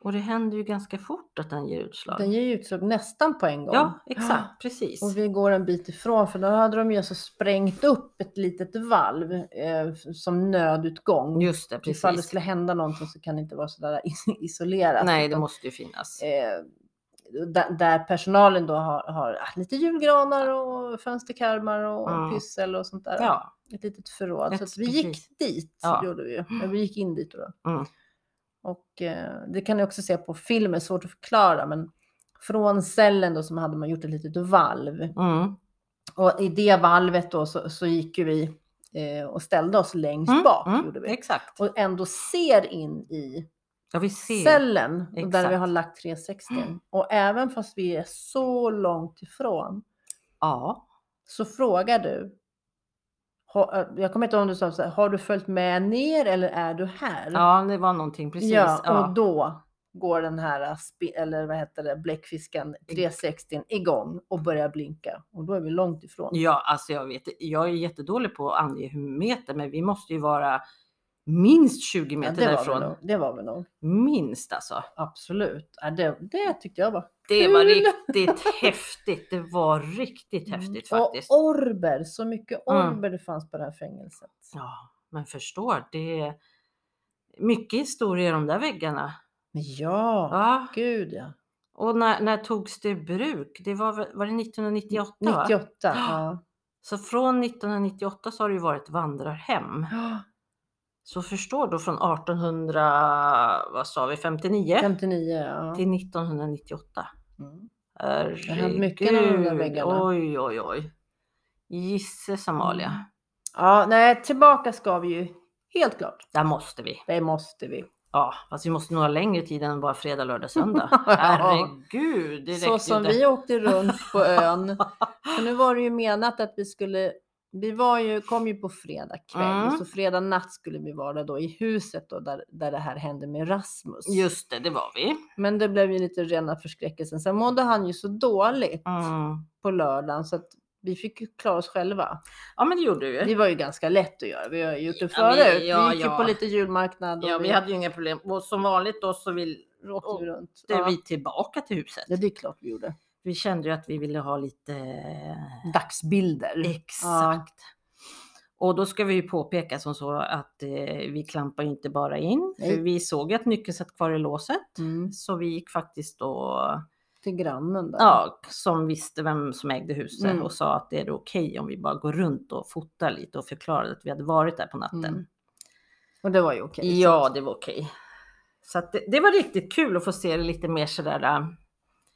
[SPEAKER 2] Och det händer ju ganska fort att den ger utslag.
[SPEAKER 1] den ger ju utslag nästan på en gång.
[SPEAKER 2] ja, exakt, precis.
[SPEAKER 1] Och vi går en bit ifrån för då hade de ju alltså sprängt upp ett litet valv eh, som nödutgång. Typ,
[SPEAKER 2] Just det,
[SPEAKER 1] Ifall det
[SPEAKER 2] precis.
[SPEAKER 1] skulle hända någonting så kan det inte vara sådär is- isolerat.
[SPEAKER 2] Nej, det
[SPEAKER 1] utan-
[SPEAKER 2] måste ju finnas.
[SPEAKER 1] alltså, eh, där, där personalen då har, har ah, lite julgranar och fönsterkarmar och
[SPEAKER 2] Mm.
[SPEAKER 1] pyssel och sånt där.
[SPEAKER 2] Ja,
[SPEAKER 1] Ett litet förråd.
[SPEAKER 2] Ett-
[SPEAKER 1] så att vi
[SPEAKER 2] precis.
[SPEAKER 1] gick dit,
[SPEAKER 2] Ja.
[SPEAKER 1] gjorde vi ju. Ja, Vi gick in dit då.
[SPEAKER 2] Mm.
[SPEAKER 1] Och eh, det kan ni också se på filmen, svårt att förklara, men från cellen då som hade man gjort ett litet valv.
[SPEAKER 2] mm,
[SPEAKER 1] Och i det valvet då så, så gick ju vi eh, och ställde oss längst
[SPEAKER 2] Mm,
[SPEAKER 1] bak.
[SPEAKER 2] mm,
[SPEAKER 1] gjorde vi.
[SPEAKER 2] exakt.
[SPEAKER 1] Och ändå ser in i
[SPEAKER 2] Ja, vi ser.
[SPEAKER 1] cellen och där vi
[SPEAKER 2] Exakt.
[SPEAKER 1] har lagt 360.
[SPEAKER 2] Mm.
[SPEAKER 1] Och även fast vi är så långt ifrån
[SPEAKER 2] Ja,
[SPEAKER 1] så frågar du. har- Jag kommer inte ihåg om du sa så här, har du följt med ner eller är du här?
[SPEAKER 2] ja, det var någonting precis.
[SPEAKER 1] Ja,
[SPEAKER 2] ja.
[SPEAKER 1] och då går den här äh, spe- eller vad heter det, bläckfisken 360 igång och börjar blinka och då är vi långt ifrån.
[SPEAKER 2] Ja, alltså jag vet Jag är jättedålig på att ange hur meter, men vi måste ju vara minst 20
[SPEAKER 1] Ja,
[SPEAKER 2] meter
[SPEAKER 1] det, var vi
[SPEAKER 2] därifrån.
[SPEAKER 1] nog, det var vi nog.
[SPEAKER 2] Minst alltså.
[SPEAKER 1] Absolut. Ja, det, det
[SPEAKER 2] Mm.
[SPEAKER 1] tyckte jag var
[SPEAKER 2] Det var
[SPEAKER 1] Kul! Mm,
[SPEAKER 2] riktigt häftigt. Det var riktigt häftigt faktiskt.
[SPEAKER 1] Och orber, så mycket
[SPEAKER 2] Mm.
[SPEAKER 1] orber det fanns på det här fängelset.
[SPEAKER 2] Ja, men förstår. Det är mycket historia i de där väggarna.
[SPEAKER 1] Men ja,
[SPEAKER 2] Ja,
[SPEAKER 1] gud ja.
[SPEAKER 2] och när, när togs det i bruk? Det var, väl- var det 1998? Va?
[SPEAKER 1] 98. Ja.
[SPEAKER 2] Så från 1998 så har det ju varit vandrarhem. Så förstår då från 1800, vad sa vi, 59
[SPEAKER 1] 59, ja.
[SPEAKER 2] till 1998.
[SPEAKER 1] Mm.
[SPEAKER 2] Herregud.
[SPEAKER 1] hänt mycket med de där väggarna. Mm.
[SPEAKER 2] Oj, oj, oj. Gisses Amalia.
[SPEAKER 1] Ja, nej, tillbaka ska vi ju. Helt klart.
[SPEAKER 2] Där måste vi.
[SPEAKER 1] Det måste vi.
[SPEAKER 2] Ja, fast vi måste nog ha längre tid än bara fredag, lördag, söndag.
[SPEAKER 1] Ja.
[SPEAKER 2] Herregud, det räcker
[SPEAKER 1] Så som
[SPEAKER 2] inte.
[SPEAKER 1] vi åkte runt på ön. För nu var det ju menat att vi skulle, vi var ju, kom ju på fredag kväll,
[SPEAKER 2] Mm.
[SPEAKER 1] så fredag natt skulle vi vara då i huset då, där, där det här hände med Rasmus.
[SPEAKER 2] Just det, det var vi.
[SPEAKER 1] Men det blev ju lite rena förskräckelsen. Sen mådde han ju så dåligt
[SPEAKER 2] Mm.
[SPEAKER 1] på lördagen så att vi fick ju klara oss själva.
[SPEAKER 2] Ja, men det gjorde vi
[SPEAKER 1] Det
[SPEAKER 2] ju.
[SPEAKER 1] var ju ganska lätt att göra. Vi har ju gjort det
[SPEAKER 2] Ja, vi-
[SPEAKER 1] förut. Vi,
[SPEAKER 2] ja,
[SPEAKER 1] gick ju
[SPEAKER 2] ja.
[SPEAKER 1] på lite julmarknad och
[SPEAKER 2] Ja, vi
[SPEAKER 1] vi
[SPEAKER 2] hade ju inga problem. Och som vanligt då så ville
[SPEAKER 1] åkte ju runt. Ja.
[SPEAKER 2] vi tillbaka till huset.
[SPEAKER 1] ja, det är klart vi gjorde.
[SPEAKER 2] Vi kände ju att vi ville ha lite... eh,
[SPEAKER 1] Dagsbilder.
[SPEAKER 2] Exakt. Och då ska vi ju påpeka som så att eh, vi klampar ju inte bara in. För
[SPEAKER 1] Nej.
[SPEAKER 2] vi såg ju att nyckeln satt kvar i låset.
[SPEAKER 1] Mm.
[SPEAKER 2] Så vi gick faktiskt då,
[SPEAKER 1] Till grannen där.
[SPEAKER 2] ja, som visste vem som ägde huset
[SPEAKER 1] Mm.
[SPEAKER 2] och sa att det är okej om vi bara går runt och fotar lite och förklarade att vi hade varit där på natten.
[SPEAKER 1] Mm. Och det var ju okej.
[SPEAKER 2] Ja, det var okej. Så att det, det var riktigt kul att få se det lite mer sådär äh,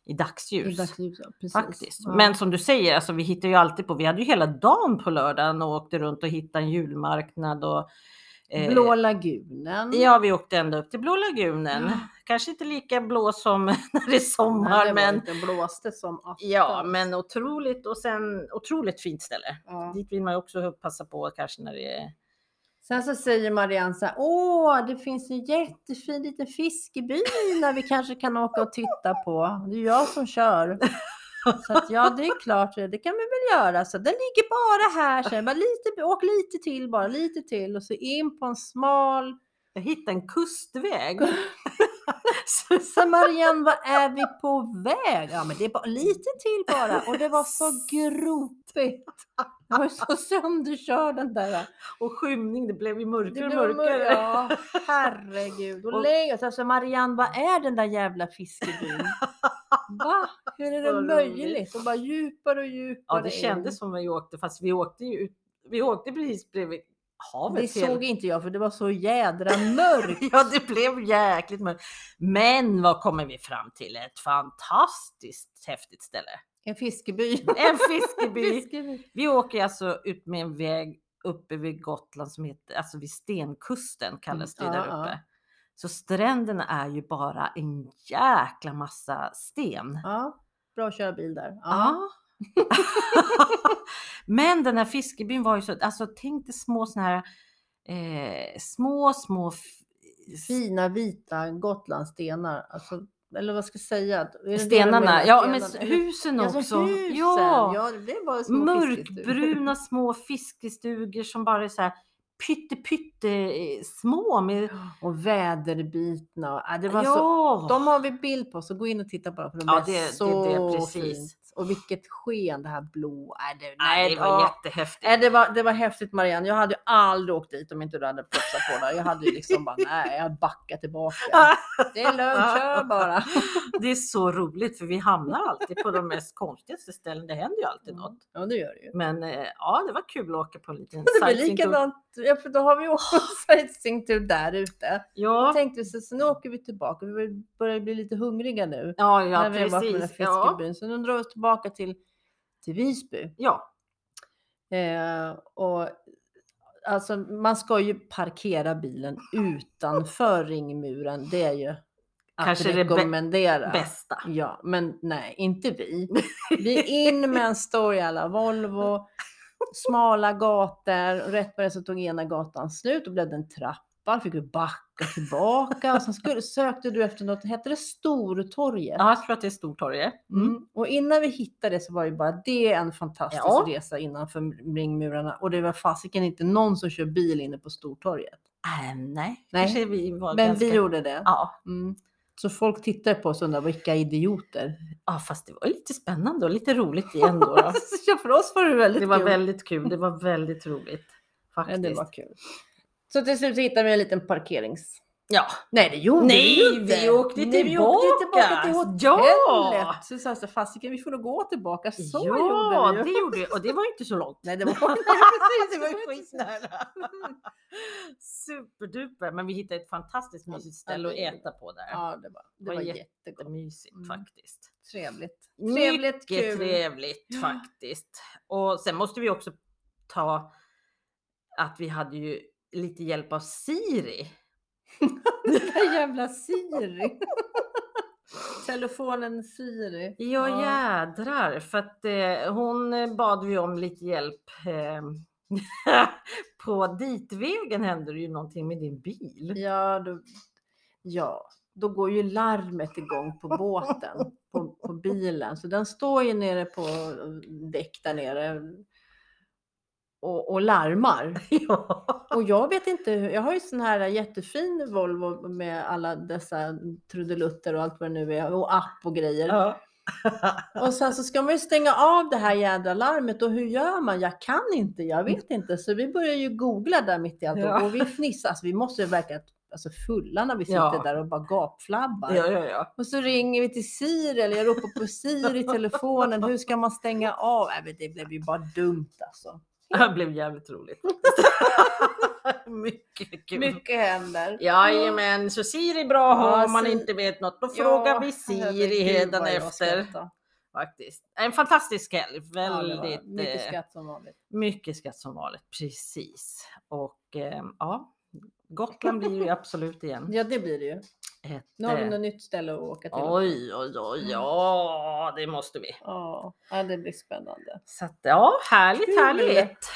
[SPEAKER 2] i dagsljus.
[SPEAKER 1] I dagsljus, ja, precis.
[SPEAKER 2] Faktiskt.
[SPEAKER 1] Ja.
[SPEAKER 2] Men som du säger, alltså, vi hittar ju alltid på. Vi hade ju hela dagen på lördagen och åkte runt och hittade en julmarknad och eh,
[SPEAKER 1] Blå lagunen.
[SPEAKER 2] Ja, vi åkte ända upp till Blå lagunen.
[SPEAKER 1] Ja.
[SPEAKER 2] Kanske inte lika blå som när det är
[SPEAKER 1] Nej,
[SPEAKER 2] sommar,
[SPEAKER 1] det var
[SPEAKER 2] men
[SPEAKER 1] inte blåste som attan.
[SPEAKER 2] ja, men otroligt och sen otroligt fint ställe.
[SPEAKER 1] Ja.
[SPEAKER 2] Dit vill man ju också passa på kanske när det är.
[SPEAKER 1] Sen så säger Marianne så här, åh det finns en jättefin liten fiskeby där vi kanske kan åka och titta på. Det är jag som kör. Så att, ja det är klart, det kan vi väl göra. Så den ligger bara här, så jag bara, lite, åk lite till bara, lite till och så in på en smal.
[SPEAKER 2] Jag hittade en kustväg. så,
[SPEAKER 1] Så Marianne, vad är vi på väg? Ja men det är bara lite till bara och det var så gropigt. Jag var så sönderkörd den där.
[SPEAKER 2] och skymning, det blev ju mörkare och
[SPEAKER 1] blev mörkt,
[SPEAKER 2] mörkare.
[SPEAKER 1] Ja, herregud. Och
[SPEAKER 2] Och-
[SPEAKER 1] längre. Så alltså, Marianne, vad är den där jävla fiskebyn? Va? Hur är det
[SPEAKER 2] Så roligt.
[SPEAKER 1] möjligt? Och bara djupare och djupare.
[SPEAKER 2] Ja, det kändes som vi åkte, fast vi åkte ju ut. Vi åkte precis bredvid har väl
[SPEAKER 1] Det
[SPEAKER 2] fel.
[SPEAKER 1] såg inte jag för det var så jädra mörkt.
[SPEAKER 2] Ja, det blev jäkligt mörkt. Men vad kommer vi fram till? Ett fantastiskt häftigt ställe.
[SPEAKER 1] En fiskeby.
[SPEAKER 2] En fiskeby.
[SPEAKER 1] fiskeby.
[SPEAKER 2] Vi åker alltså ut med en väg uppe vid Gotland som heter, alltså vid stenkusten kallas det
[SPEAKER 1] Mm,
[SPEAKER 2] där
[SPEAKER 1] ja, ja.
[SPEAKER 2] uppe. Så stränderna är ju bara en jäkla massa sten.
[SPEAKER 1] Ja, bra att köra bil där. Ja.
[SPEAKER 2] Ja. Men den här fiskebyn var ju så, alltså tänk dig små såna här eh, små, små f-
[SPEAKER 1] Fina vita Gotlandsstenar. Alltså, eller vad ska jag säga? Är det det du menar?
[SPEAKER 2] Stenarna, ja men
[SPEAKER 1] Stenarna? Eller-
[SPEAKER 2] husen
[SPEAKER 1] Ja, som
[SPEAKER 2] också.
[SPEAKER 1] Husen.
[SPEAKER 2] Ja,
[SPEAKER 1] ja, det blev bara små fiskestugor.
[SPEAKER 2] mörkbruna små fiskestugor som bara är så här pytte pytte eh, små med
[SPEAKER 1] Och väderbitna. och- Ja, det var så,
[SPEAKER 2] ja.
[SPEAKER 1] de har vi bild på så gå in och titta på dem. För de
[SPEAKER 2] Ja,
[SPEAKER 1] är
[SPEAKER 2] det- det-
[SPEAKER 1] så
[SPEAKER 2] det är precis.
[SPEAKER 1] fint. Och vilket sken det här blå. Nej, det,
[SPEAKER 2] Nej, det var
[SPEAKER 1] ja.
[SPEAKER 2] jättehäftigt.
[SPEAKER 1] Nej, det, var, det var häftigt Marianne. Jag hade ju aldrig åkt dit om inte du hade propsat på det. Jag hade ju liksom bara, nej, jag backar tillbaka. Det är lugnt, kör bara.
[SPEAKER 2] Det är så roligt för vi hamnar alltid på de mest konstigaste ställen. Det händer ju
[SPEAKER 1] Mm.
[SPEAKER 2] alltid något.
[SPEAKER 1] Ja, det gör det ju.
[SPEAKER 2] Men eh, ja, det var kul att åka på en liten
[SPEAKER 1] Det blir
[SPEAKER 2] sightseeingtur.
[SPEAKER 1] likadant, ja, för då har vi åkt en sightseeingtur där ute. Då
[SPEAKER 2] Ja,
[SPEAKER 1] tänkte vi så, så nu åker vi tillbaka, för vi börjar bli lite hungriga nu.
[SPEAKER 2] ja,
[SPEAKER 1] när
[SPEAKER 2] ja
[SPEAKER 1] vi har varit med den här
[SPEAKER 2] precis. Ja.
[SPEAKER 1] fiskebyn. Så nu drar vi oss tillbaka till, till Visby.
[SPEAKER 2] ja,
[SPEAKER 1] Eh, och, alltså, man ska ju parkera bilen utanför ringmuren. Det är ju att
[SPEAKER 2] Kanske det bä-
[SPEAKER 1] rekommendera.
[SPEAKER 2] bästa.
[SPEAKER 1] Ja, men nej, inte vi. Vi in med en stor jävla Volvo, smala gator och rätt på det så tog ena gatan slut och blev det en trappa. Fick vi backa tillbaka och sen skulle, sökte du efter något, hette det Stortorget?
[SPEAKER 2] Ja, jag tror att det är Stortorget. Mm.
[SPEAKER 1] Mm. Och innan vi hittade det så var ju bara det en fantastisk
[SPEAKER 2] Ja.
[SPEAKER 1] resa innanför ringmurarna. Och det var fasiken inte någon som kör bil inne på Stortorget.
[SPEAKER 2] Äh, nej,
[SPEAKER 1] Nej.
[SPEAKER 2] kanske vi var
[SPEAKER 1] Men
[SPEAKER 2] ganska...
[SPEAKER 1] vi gjorde det.
[SPEAKER 2] Ja.
[SPEAKER 1] Mm. Så folk tittar på oss och undrar vilka idioter.
[SPEAKER 2] ja, fast det var ju lite spännande och lite roligt igen då. då.
[SPEAKER 1] Så för oss var det väldigt
[SPEAKER 2] Det var
[SPEAKER 1] kul.
[SPEAKER 2] väldigt kul. Det var väldigt roligt.
[SPEAKER 1] ja,
[SPEAKER 2] Faktiskt.
[SPEAKER 1] det var kul. Så till slut så hittade vi en liten parkerings...
[SPEAKER 2] Ja,
[SPEAKER 1] Nej, det gjorde
[SPEAKER 2] Nej,
[SPEAKER 1] vi ju inte.
[SPEAKER 2] vi åkte
[SPEAKER 1] Nej, vi åkte tillbaka till
[SPEAKER 2] tillbaka.
[SPEAKER 1] hotellet.
[SPEAKER 2] Ja.
[SPEAKER 1] Så sa jag så här, fasiken, vi får nog gå tillbaka. Så
[SPEAKER 2] ja
[SPEAKER 1] gjorde vi
[SPEAKER 2] det
[SPEAKER 1] ju.
[SPEAKER 2] gjorde vi. Och det var ju inte så långt.
[SPEAKER 1] Nej, det var, nej, precis,
[SPEAKER 2] det var ju
[SPEAKER 1] inte så-
[SPEAKER 2] skitnära. Superduper. Men vi hittade ett fantastiskt mysigt ställe att
[SPEAKER 1] det gjorde
[SPEAKER 2] äta på där.
[SPEAKER 1] Ja, det var, det
[SPEAKER 2] Vad
[SPEAKER 1] var
[SPEAKER 2] jätte-
[SPEAKER 1] jättegott.
[SPEAKER 2] Jättemysigt
[SPEAKER 1] Mm.
[SPEAKER 2] faktiskt.
[SPEAKER 1] Trevligt.
[SPEAKER 2] Mycket
[SPEAKER 1] Trevligt, kul.
[SPEAKER 2] trevligt
[SPEAKER 1] Ja.
[SPEAKER 2] faktiskt. Och sen måste vi också ta att vi hade ju lite hjälp av Siri.
[SPEAKER 1] Den jävla Siri. Telefonen Siri.
[SPEAKER 2] Ja, jädrar. För att eh, hon eh, bad vi om lite hjälp. Eh, på ditvägen hände det ju någonting med din bil.
[SPEAKER 1] Ja, då, ja, då går ju larmet igång på båten, på, på bilen. Så den står ju nere på eh, däck där nere och, och larmar.
[SPEAKER 2] Ja.
[SPEAKER 1] Och jag vet inte, hur- jag har ju sån här jättefin Volvo med alla dessa trudelutter och allt vad det nu är och app och grejer.
[SPEAKER 2] Ja.
[SPEAKER 1] Och sen så ska man ju stänga av det här jädra larmet och hur gör man? Jag kan inte, jag vet inte. Så vi börjar ju googla där mitt i allt
[SPEAKER 2] Mm. Ja.
[SPEAKER 1] och vi fnissar. Alltså, vi måste ju verka alltså, fulla när vi sitter
[SPEAKER 2] Ja.
[SPEAKER 1] där och bara gapflabbar.
[SPEAKER 2] ja, ja, ja.
[SPEAKER 1] Och så ringer vi till Siri eller jag ropar på Siri i telefonen. Hur ska man stänga av? Nej, men det blev ju bara dumt alltså.
[SPEAKER 2] Det blev jävligt roligt. Mycket kul.
[SPEAKER 1] Mycket händer.
[SPEAKER 2] Jajamän, så Siri är bra att ha
[SPEAKER 1] Ja,
[SPEAKER 2] om man
[SPEAKER 1] Siri-
[SPEAKER 2] inte vet något. Då
[SPEAKER 1] Ja,
[SPEAKER 2] frågar vi Siri
[SPEAKER 1] herregud, vad jag
[SPEAKER 2] hädanefter.
[SPEAKER 1] skrattar.
[SPEAKER 2] Faktiskt. En fantastisk helg.
[SPEAKER 1] Ja, det
[SPEAKER 2] Väldigt
[SPEAKER 1] var det. Mycket
[SPEAKER 2] eh,
[SPEAKER 1] skratt som vanligt.
[SPEAKER 2] mycket skatt som vanligt. Precis. Och eh, ja, Gotland blir ju absolut igen.
[SPEAKER 1] Ja, det blir det ju.
[SPEAKER 2] Ett,
[SPEAKER 1] Nu har vi
[SPEAKER 2] eh,
[SPEAKER 1] något nytt ställe att åka till. Mm.
[SPEAKER 2] Oj, oj, oj, ja, det måste vi.
[SPEAKER 1] Ja, ja, det blir spännande.
[SPEAKER 2] Så att, ja, härligt,
[SPEAKER 1] Kul.
[SPEAKER 2] härligt.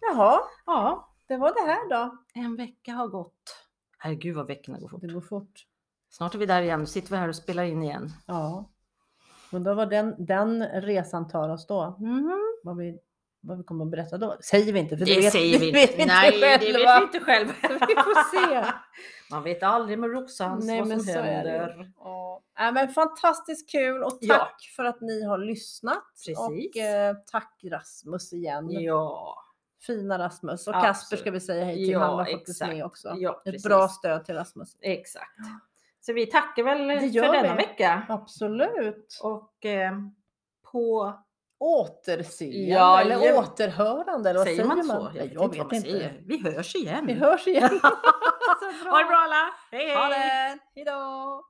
[SPEAKER 1] Jaha,
[SPEAKER 2] Ja,
[SPEAKER 1] det var det här då.
[SPEAKER 2] en vecka har gått. Herregud vad veckorna går fort.
[SPEAKER 1] Det går fort.
[SPEAKER 2] Snart är vi där igen. Nu sitter vi här och spelar in igen.
[SPEAKER 1] Ja. Undrar vad den, den resan tar oss då. Vad vi, vad vi kommer att berätta då. säger vi inte. För
[SPEAKER 2] Det
[SPEAKER 1] vet,
[SPEAKER 2] säger vi
[SPEAKER 1] Mm. det vet
[SPEAKER 2] inte. Nej, det vet
[SPEAKER 1] själva.
[SPEAKER 2] vi inte själva.
[SPEAKER 1] Vi får se.
[SPEAKER 2] Man vet aldrig med Roxans
[SPEAKER 1] Nej,
[SPEAKER 2] vad
[SPEAKER 1] men
[SPEAKER 2] som
[SPEAKER 1] så är det.
[SPEAKER 2] händer.
[SPEAKER 1] Ja. Äh, men fantastiskt kul och tack
[SPEAKER 2] Ja.
[SPEAKER 1] för att ni har lyssnat.
[SPEAKER 2] Precis.
[SPEAKER 1] Och eh, tack Rasmus igen.
[SPEAKER 2] Ja,
[SPEAKER 1] Fina Rasmus. Och
[SPEAKER 2] Absolut.
[SPEAKER 1] Kasper ska vi säga hej till.
[SPEAKER 2] Ja,
[SPEAKER 1] Han var faktiskt
[SPEAKER 2] exakt.
[SPEAKER 1] med också.
[SPEAKER 2] ja
[SPEAKER 1] Ett
[SPEAKER 2] precis.
[SPEAKER 1] bra stöd till Rasmus.
[SPEAKER 2] Exakt. Så vi tackar väl
[SPEAKER 1] gör
[SPEAKER 2] för denna
[SPEAKER 1] vi.
[SPEAKER 2] vecka.
[SPEAKER 1] Absolut.
[SPEAKER 2] Och eh, på
[SPEAKER 1] återseende
[SPEAKER 2] Ja,
[SPEAKER 1] eller
[SPEAKER 2] jag-
[SPEAKER 1] återhörande eller vad
[SPEAKER 2] Säger man så?
[SPEAKER 1] Jag,
[SPEAKER 2] inte vad
[SPEAKER 1] jag vet
[SPEAKER 2] man
[SPEAKER 1] inte.
[SPEAKER 2] säger. Vi hörs igen.
[SPEAKER 1] Vi hörs igen.
[SPEAKER 2] Ha det bra alla! Hej
[SPEAKER 1] Ha
[SPEAKER 2] hej!
[SPEAKER 1] det! Hejdå!